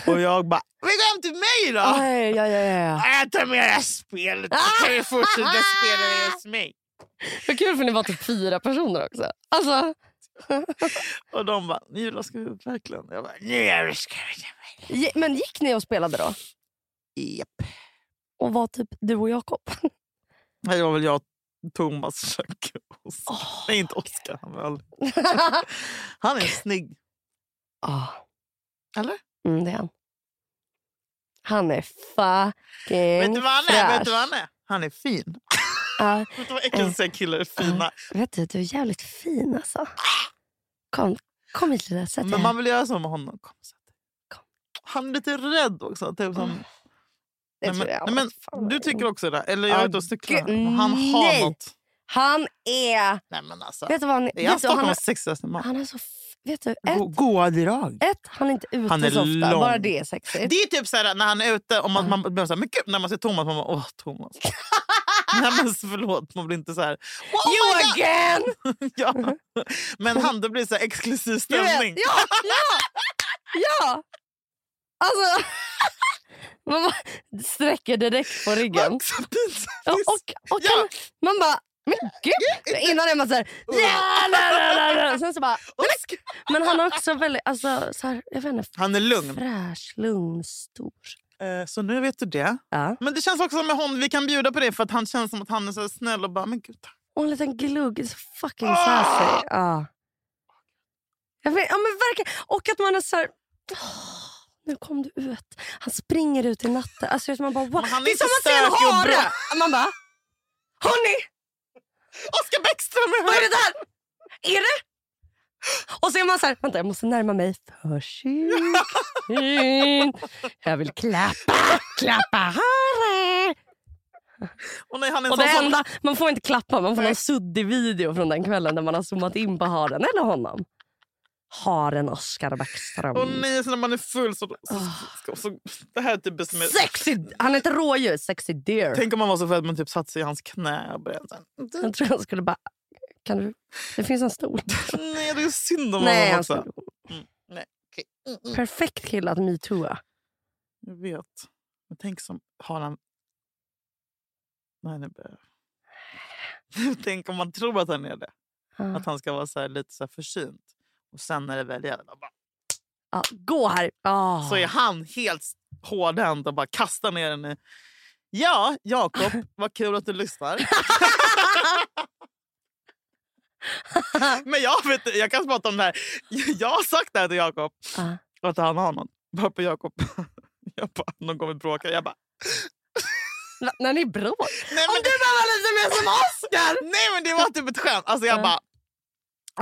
[SPEAKER 2] Och jag bara, vi går hem till mig då!
[SPEAKER 1] Aj, Ah, ja, Ah, ja, ja.
[SPEAKER 2] "Ja, Jag tar med det här spelet, då kan vi fortsätta spela
[SPEAKER 1] ah,
[SPEAKER 2] det hos mig.
[SPEAKER 1] Vad kul för ni var typ fyra personer också. Alltså,
[SPEAKER 2] Och de bara, Julia ska vi ut verkligen? Jag bara, nu jävlar ska vi till mig.
[SPEAKER 1] ge- men gick ni och spelade då?
[SPEAKER 2] Japp.
[SPEAKER 1] Och var typ du och Jakob?
[SPEAKER 2] Nej, Det var väl jag, Thomas och Oscar. Nej, inte Oscar. Han, var aldrig- han är snygg.
[SPEAKER 1] Ah,
[SPEAKER 2] Eller?
[SPEAKER 1] mm, det är han. Han är fucking
[SPEAKER 2] Vet du vad han är? Vet du
[SPEAKER 1] fräsch.
[SPEAKER 2] vad han är? Han är fin.
[SPEAKER 1] Ja,
[SPEAKER 2] Vet du vad äckligt att säga killar är
[SPEAKER 1] Eh,
[SPEAKER 2] fina?
[SPEAKER 1] vet du, du är jävligt fin alltså. Kom, kom hit lilla, sätt dig
[SPEAKER 2] Men
[SPEAKER 1] här.
[SPEAKER 2] man vill göra så med honom. Kom, sätt dig.
[SPEAKER 1] Kom.
[SPEAKER 2] Han är lite rädd också. Typ som,
[SPEAKER 1] Det
[SPEAKER 2] nej,
[SPEAKER 1] tror
[SPEAKER 2] men,
[SPEAKER 1] jag.
[SPEAKER 2] nej,
[SPEAKER 1] Fan.
[SPEAKER 2] men, du tycker också det? Eller jag
[SPEAKER 1] Ja,
[SPEAKER 2] är ute och cyklar.
[SPEAKER 1] gud,
[SPEAKER 2] här. Han har
[SPEAKER 1] nej.
[SPEAKER 2] något.
[SPEAKER 1] Han är...
[SPEAKER 2] Nej, men alltså.
[SPEAKER 1] Vet du vad han
[SPEAKER 2] Är han
[SPEAKER 1] vet du, han, har,
[SPEAKER 2] Stockholms sexigaste man?
[SPEAKER 1] han är så... f- Vet du,
[SPEAKER 2] Go-
[SPEAKER 1] ett,
[SPEAKER 2] Goa drag.
[SPEAKER 1] ett han är inte ute
[SPEAKER 2] Han är
[SPEAKER 1] så ofta.
[SPEAKER 2] lång.
[SPEAKER 1] Bara det är sexigt.
[SPEAKER 2] Det är typ så här när han är ute och man,
[SPEAKER 1] Ah.
[SPEAKER 2] man blir så här, men gud, när man ser Thomas, man bara, åh Thomas. Nej men förlåt, man blir inte så här, oh
[SPEAKER 1] you
[SPEAKER 2] my God!
[SPEAKER 1] again!
[SPEAKER 2] ja. Men han, det blir så här exklusiv
[SPEAKER 1] Jag vet.
[SPEAKER 2] stämning.
[SPEAKER 1] Ja, ja, ja! Alltså... Man bara sträcker direkt på ryggen.
[SPEAKER 2] Så pinsamt.
[SPEAKER 1] Ja, och, och
[SPEAKER 2] Ja.
[SPEAKER 1] kan, man bara, men gud! Innan är man så här, ja, la, la, la, la. Sen så bara, nej, men, men han är också väldigt, alltså, så här, jag vet inte,
[SPEAKER 2] Han är lugn.
[SPEAKER 1] fräsch, lugn, stor.
[SPEAKER 2] Eh, Så nu vet du det.
[SPEAKER 1] Ja.
[SPEAKER 2] Men det känns också som med honom, vi kan bjuda på det för att han känns som att han är så här snäll och bara, men gud tack.
[SPEAKER 1] Och en liten glugg, så fucking
[SPEAKER 2] Ah!
[SPEAKER 1] sassy. Ja. Jag vet, ja, men verkligen. Och att man är så här, åh, nu kom du ut. Han springer ut i natten. Alltså, jag vet, man bara, wow.
[SPEAKER 2] Men han är
[SPEAKER 1] det är
[SPEAKER 2] inte
[SPEAKER 1] som att se en
[SPEAKER 2] stökig och bra.
[SPEAKER 1] hare! Man bara, hörni!
[SPEAKER 2] Oskar Bäckström är
[SPEAKER 1] Vad är
[SPEAKER 2] här!
[SPEAKER 1] det där? Är det? Och så är man så här, vänta jag måste närma mig försiktigt. Jag vill klappa, klappa hare.
[SPEAKER 2] Och nej, han är en
[SPEAKER 1] Och det
[SPEAKER 2] sån som-
[SPEAKER 1] enda, man får inte klappa, man får någon suddig video från den kvällen där man har zoomat in på haren eller honom. Haren Oskar Bäckström.
[SPEAKER 2] Och nej, så när man är full så... så,
[SPEAKER 1] Ah.
[SPEAKER 2] så, så det här är typ det som är...
[SPEAKER 1] Sexy, han är ett rådjur, sexy deer.
[SPEAKER 2] Tänk om man var så full att man typ satt sig i hans knä och började så här,
[SPEAKER 1] Jag tror han skulle bara, kan du, det finns en stol.
[SPEAKER 2] Nej, det är synd om
[SPEAKER 1] Nej,
[SPEAKER 2] honom
[SPEAKER 1] han
[SPEAKER 2] också. Mm,
[SPEAKER 1] skulle,
[SPEAKER 2] Nej, okej. Mm,
[SPEAKER 1] perfekt kille att metooa.
[SPEAKER 2] Jag vet. Men tänk som... Har han... Nej, nu börjar jag. Tänk om man tror att han är det.
[SPEAKER 1] Ja.
[SPEAKER 2] Att han ska vara så här, lite så här försynt. Och sen när det väl gäller, bara,
[SPEAKER 1] Ja, gå här. Ah.
[SPEAKER 2] så är han helt hårdhänt och bara kastar ner henne. Ja, Jakob, vad kul att du lyssnar. Men jag, vet, jag kan prata om det här. Jag har sagt det här till Jakob.
[SPEAKER 1] Ja.
[SPEAKER 2] att han har någon. Bara på Jakob. Jag bara, någon kommer bråka. Jag bara,
[SPEAKER 1] N- när ni bråk.
[SPEAKER 2] nej men du var lite mer som Oscar! Nej men det var typ ett skämt. Alltså jag
[SPEAKER 1] Ja.
[SPEAKER 2] bara,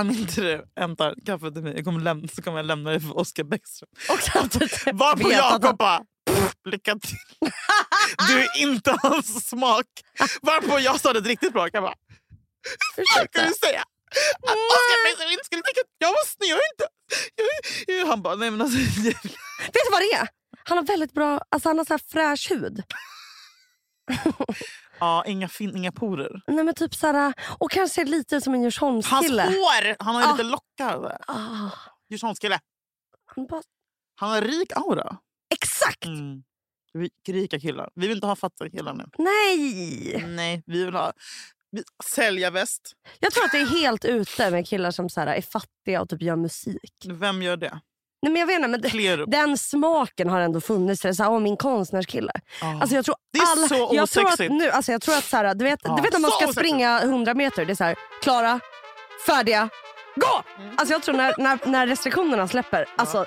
[SPEAKER 2] om inte du hämtar kaffe till mig jag kommer lämna, så kommer jag lämna dig för Oscar Bäckström.
[SPEAKER 1] Och samtidigt
[SPEAKER 2] Var på
[SPEAKER 1] vet att han-
[SPEAKER 2] Jakob bara, "Pff, lycka till. Du är inte hans smak. Varpå jag sa det riktigt bra. Jag bara, hur
[SPEAKER 1] Ursäkta.
[SPEAKER 2] kan du säga att Oscar Bäckström inte skulle tycka att jag var snygg? Jag är inte... Jag, är-" han bara, nej men alltså...
[SPEAKER 1] Vet du vad det är? Han har väldigt bra, alltså han har så här fräsch hud.
[SPEAKER 2] Ja, inga, fin, inga porer.
[SPEAKER 1] Nej men typ så här, och kanske ser lite ut som en
[SPEAKER 2] Hans
[SPEAKER 1] Djursholmskille.
[SPEAKER 2] hår! Han har ju
[SPEAKER 1] Ah.
[SPEAKER 2] lite lockar.
[SPEAKER 1] Ah,
[SPEAKER 2] Djursholmskille.
[SPEAKER 1] han bara,
[SPEAKER 2] Han har rik aura.
[SPEAKER 1] exakt!
[SPEAKER 2] Mm. Rik- Rika killar. Vi vill inte ha fattiga killar nu.
[SPEAKER 1] Nej!
[SPEAKER 2] Nej, vi vill ha... Vi, sälja väst.
[SPEAKER 1] Jag tror att det är helt ute med killar som så här, är fattiga och typ gör musik.
[SPEAKER 2] Vem gör det?
[SPEAKER 1] Nej men jag vet inte, men det,
[SPEAKER 2] Klerup.
[SPEAKER 1] den smaken har ändå funnits. Det är så här, åh, min konstnärskille.
[SPEAKER 2] Ah.
[SPEAKER 1] Alltså jag tror
[SPEAKER 2] Det är
[SPEAKER 1] alla,
[SPEAKER 2] så
[SPEAKER 1] jag tror att
[SPEAKER 2] osexigt.
[SPEAKER 1] nu, alltså jag tror att så här, du vet,
[SPEAKER 2] Ja.
[SPEAKER 1] du vet när man
[SPEAKER 2] Så
[SPEAKER 1] ska
[SPEAKER 2] osexigt.
[SPEAKER 1] springa 100 meter, det är så här, klara, färdiga, gå!
[SPEAKER 2] Mm.
[SPEAKER 1] Alltså jag tror när, när, när restriktionerna släpper, alltså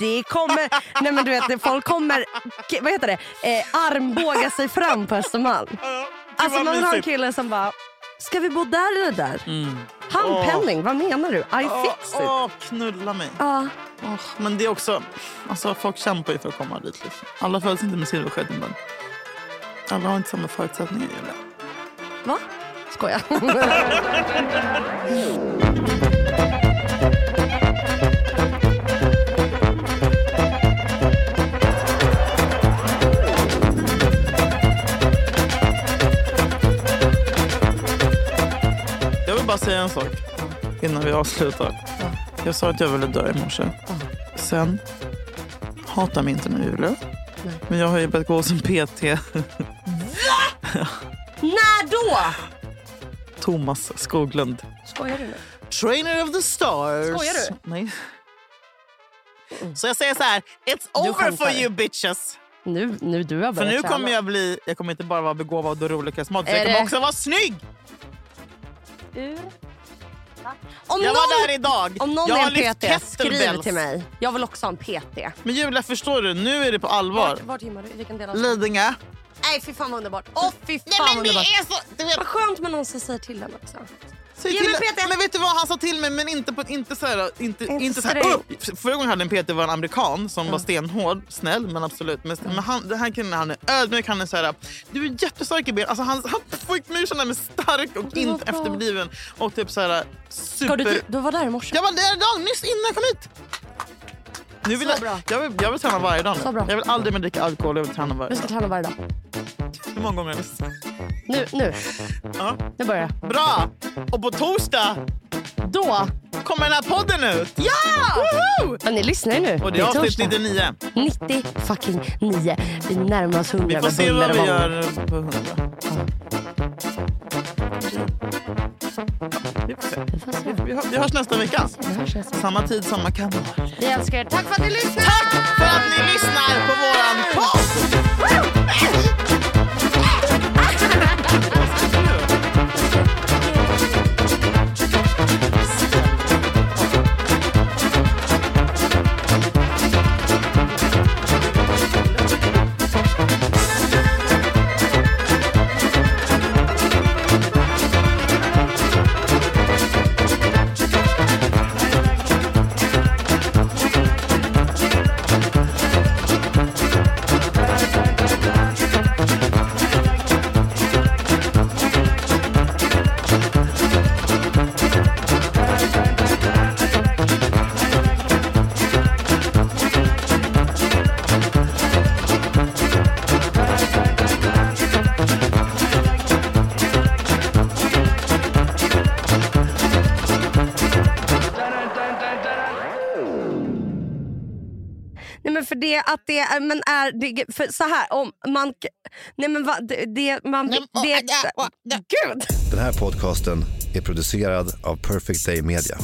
[SPEAKER 1] det kommer, nej men du vet det- folk kommer, k- vad heter det, eh, armbåga sig fram på Östermalm.
[SPEAKER 2] Ah, gud,
[SPEAKER 1] Alltså
[SPEAKER 2] vad
[SPEAKER 1] man vill ha en
[SPEAKER 2] mysigt.
[SPEAKER 1] kille som bara, ska vi bo där eller där?
[SPEAKER 2] Mm.
[SPEAKER 1] Handpenning, vad menar du? I
[SPEAKER 2] Åh,
[SPEAKER 1] fix typ. it.
[SPEAKER 2] åh, Ah, knulla mig.
[SPEAKER 1] Ja.
[SPEAKER 2] Åh, men det är också... Alltså, folk kämpar ju för att komma dit. Liksom. Alla föds inte med silverskeden. Men alla har inte samma förutsättningar. Julia.
[SPEAKER 1] Va? Skojar.
[SPEAKER 2] Jag vill bara säga en sak innan vi avslutar. Jag sa att jag ville dö i morse. Sen, hata mig inte nu Julia. Men jag har ju börjat gå som PT.
[SPEAKER 1] när då?
[SPEAKER 2] Thomas Skoglund.
[SPEAKER 1] Skojar du nu?
[SPEAKER 2] Trainer of the stars.
[SPEAKER 1] Skojar du?
[SPEAKER 2] Nej. Så jag säger så här, it's over
[SPEAKER 1] skämtar.
[SPEAKER 2] for you bitches.
[SPEAKER 1] Nu, nu du har
[SPEAKER 2] För
[SPEAKER 1] börjat
[SPEAKER 2] nu
[SPEAKER 1] träna.
[SPEAKER 2] kommer jag bli, jag kommer inte bara vara begåvad och rolig och smart,
[SPEAKER 1] Är
[SPEAKER 2] jag kommer
[SPEAKER 1] det-
[SPEAKER 2] också vara snygg.
[SPEAKER 1] ur. Om
[SPEAKER 2] Jag
[SPEAKER 1] någon,
[SPEAKER 2] var där idag.
[SPEAKER 1] om någon
[SPEAKER 2] jag har
[SPEAKER 1] är en
[SPEAKER 2] lyft
[SPEAKER 1] PT, skriv
[SPEAKER 2] kettlebells.
[SPEAKER 1] till mig. Jag vill också ha en PT.
[SPEAKER 2] Men Julia, förstår du? Nu är det på allvar.
[SPEAKER 1] Vart, vart gymmar du? I vilken del av Sverige?
[SPEAKER 2] Lidingö.
[SPEAKER 1] Nej, fy fan vad underbart. Åh, fy fan
[SPEAKER 5] Nej
[SPEAKER 1] vad
[SPEAKER 5] men det
[SPEAKER 1] underbart.
[SPEAKER 5] är så... Du vet,
[SPEAKER 1] Vad skönt med någon som säger till en också.
[SPEAKER 2] Säg
[SPEAKER 1] Ge
[SPEAKER 2] till
[SPEAKER 1] mig PT.
[SPEAKER 2] Men vet du vad han sa till mig? Men inte, på, inte så här... Inte,
[SPEAKER 1] Inte
[SPEAKER 2] inte så här
[SPEAKER 1] straight.
[SPEAKER 2] upp. F- Förra gången hade en PT var en amerikan som var stenhård. Snäll, men absolut. Men, men han, den här killen han är ödmjuk. Han är så här... Du är jättestark i ben. Alltså, han, han fick mig att känna mig stark och
[SPEAKER 1] Det var
[SPEAKER 2] inte
[SPEAKER 1] bra.
[SPEAKER 2] efterbliven. Och typ så här...
[SPEAKER 1] Ska
[SPEAKER 2] Super...
[SPEAKER 1] du, typ du, du var där i morse.
[SPEAKER 2] Jag var där idag, nyss innan jag kom hit. Nu vill
[SPEAKER 1] Så
[SPEAKER 2] jag,
[SPEAKER 1] bra.
[SPEAKER 2] jag, vill, jag vill träna varje dag
[SPEAKER 1] Så
[SPEAKER 2] nu.
[SPEAKER 1] bra.
[SPEAKER 2] Jag vill aldrig mer dricka alkohol. Jag vill träna varje
[SPEAKER 1] Du ska
[SPEAKER 2] dag.
[SPEAKER 1] träna varje dag.
[SPEAKER 2] Hur många gånger? helst.
[SPEAKER 1] Nu, nu.
[SPEAKER 2] Ja.
[SPEAKER 1] Nu börjar jag.
[SPEAKER 2] Bra! Och på torsdag, då kommer den här podden ut! Ja! Woho!
[SPEAKER 1] Ja, ni lyssnar ju nu.
[SPEAKER 2] Och det
[SPEAKER 1] Det
[SPEAKER 2] är
[SPEAKER 1] är
[SPEAKER 2] avsnitt
[SPEAKER 1] torsdag.
[SPEAKER 2] 99.
[SPEAKER 1] 90 fucking 9. Vi närmar oss 100
[SPEAKER 2] Vi får
[SPEAKER 1] med
[SPEAKER 2] se
[SPEAKER 1] buller
[SPEAKER 2] vad
[SPEAKER 1] och
[SPEAKER 2] vi
[SPEAKER 1] bång.
[SPEAKER 2] gör på 100. Vi får se.
[SPEAKER 1] Vi får se.
[SPEAKER 2] Vi hö- Vi hörs nästa vecka.
[SPEAKER 1] Vi hörs nästa vecka.
[SPEAKER 2] Samma tid, samma kanal.
[SPEAKER 1] Vi älskar er. Tack för att ni lyssnar!
[SPEAKER 2] För att ni lyssnar på våran podd!
[SPEAKER 1] Nej men för det att det är, men är det, för så här om man, k- nej men va, det, det man,
[SPEAKER 5] Nej, men-
[SPEAKER 1] det,
[SPEAKER 5] åh, äh, åh, äh.
[SPEAKER 1] gud!
[SPEAKER 6] Den här podcasten är producerad av Perfect Day Media.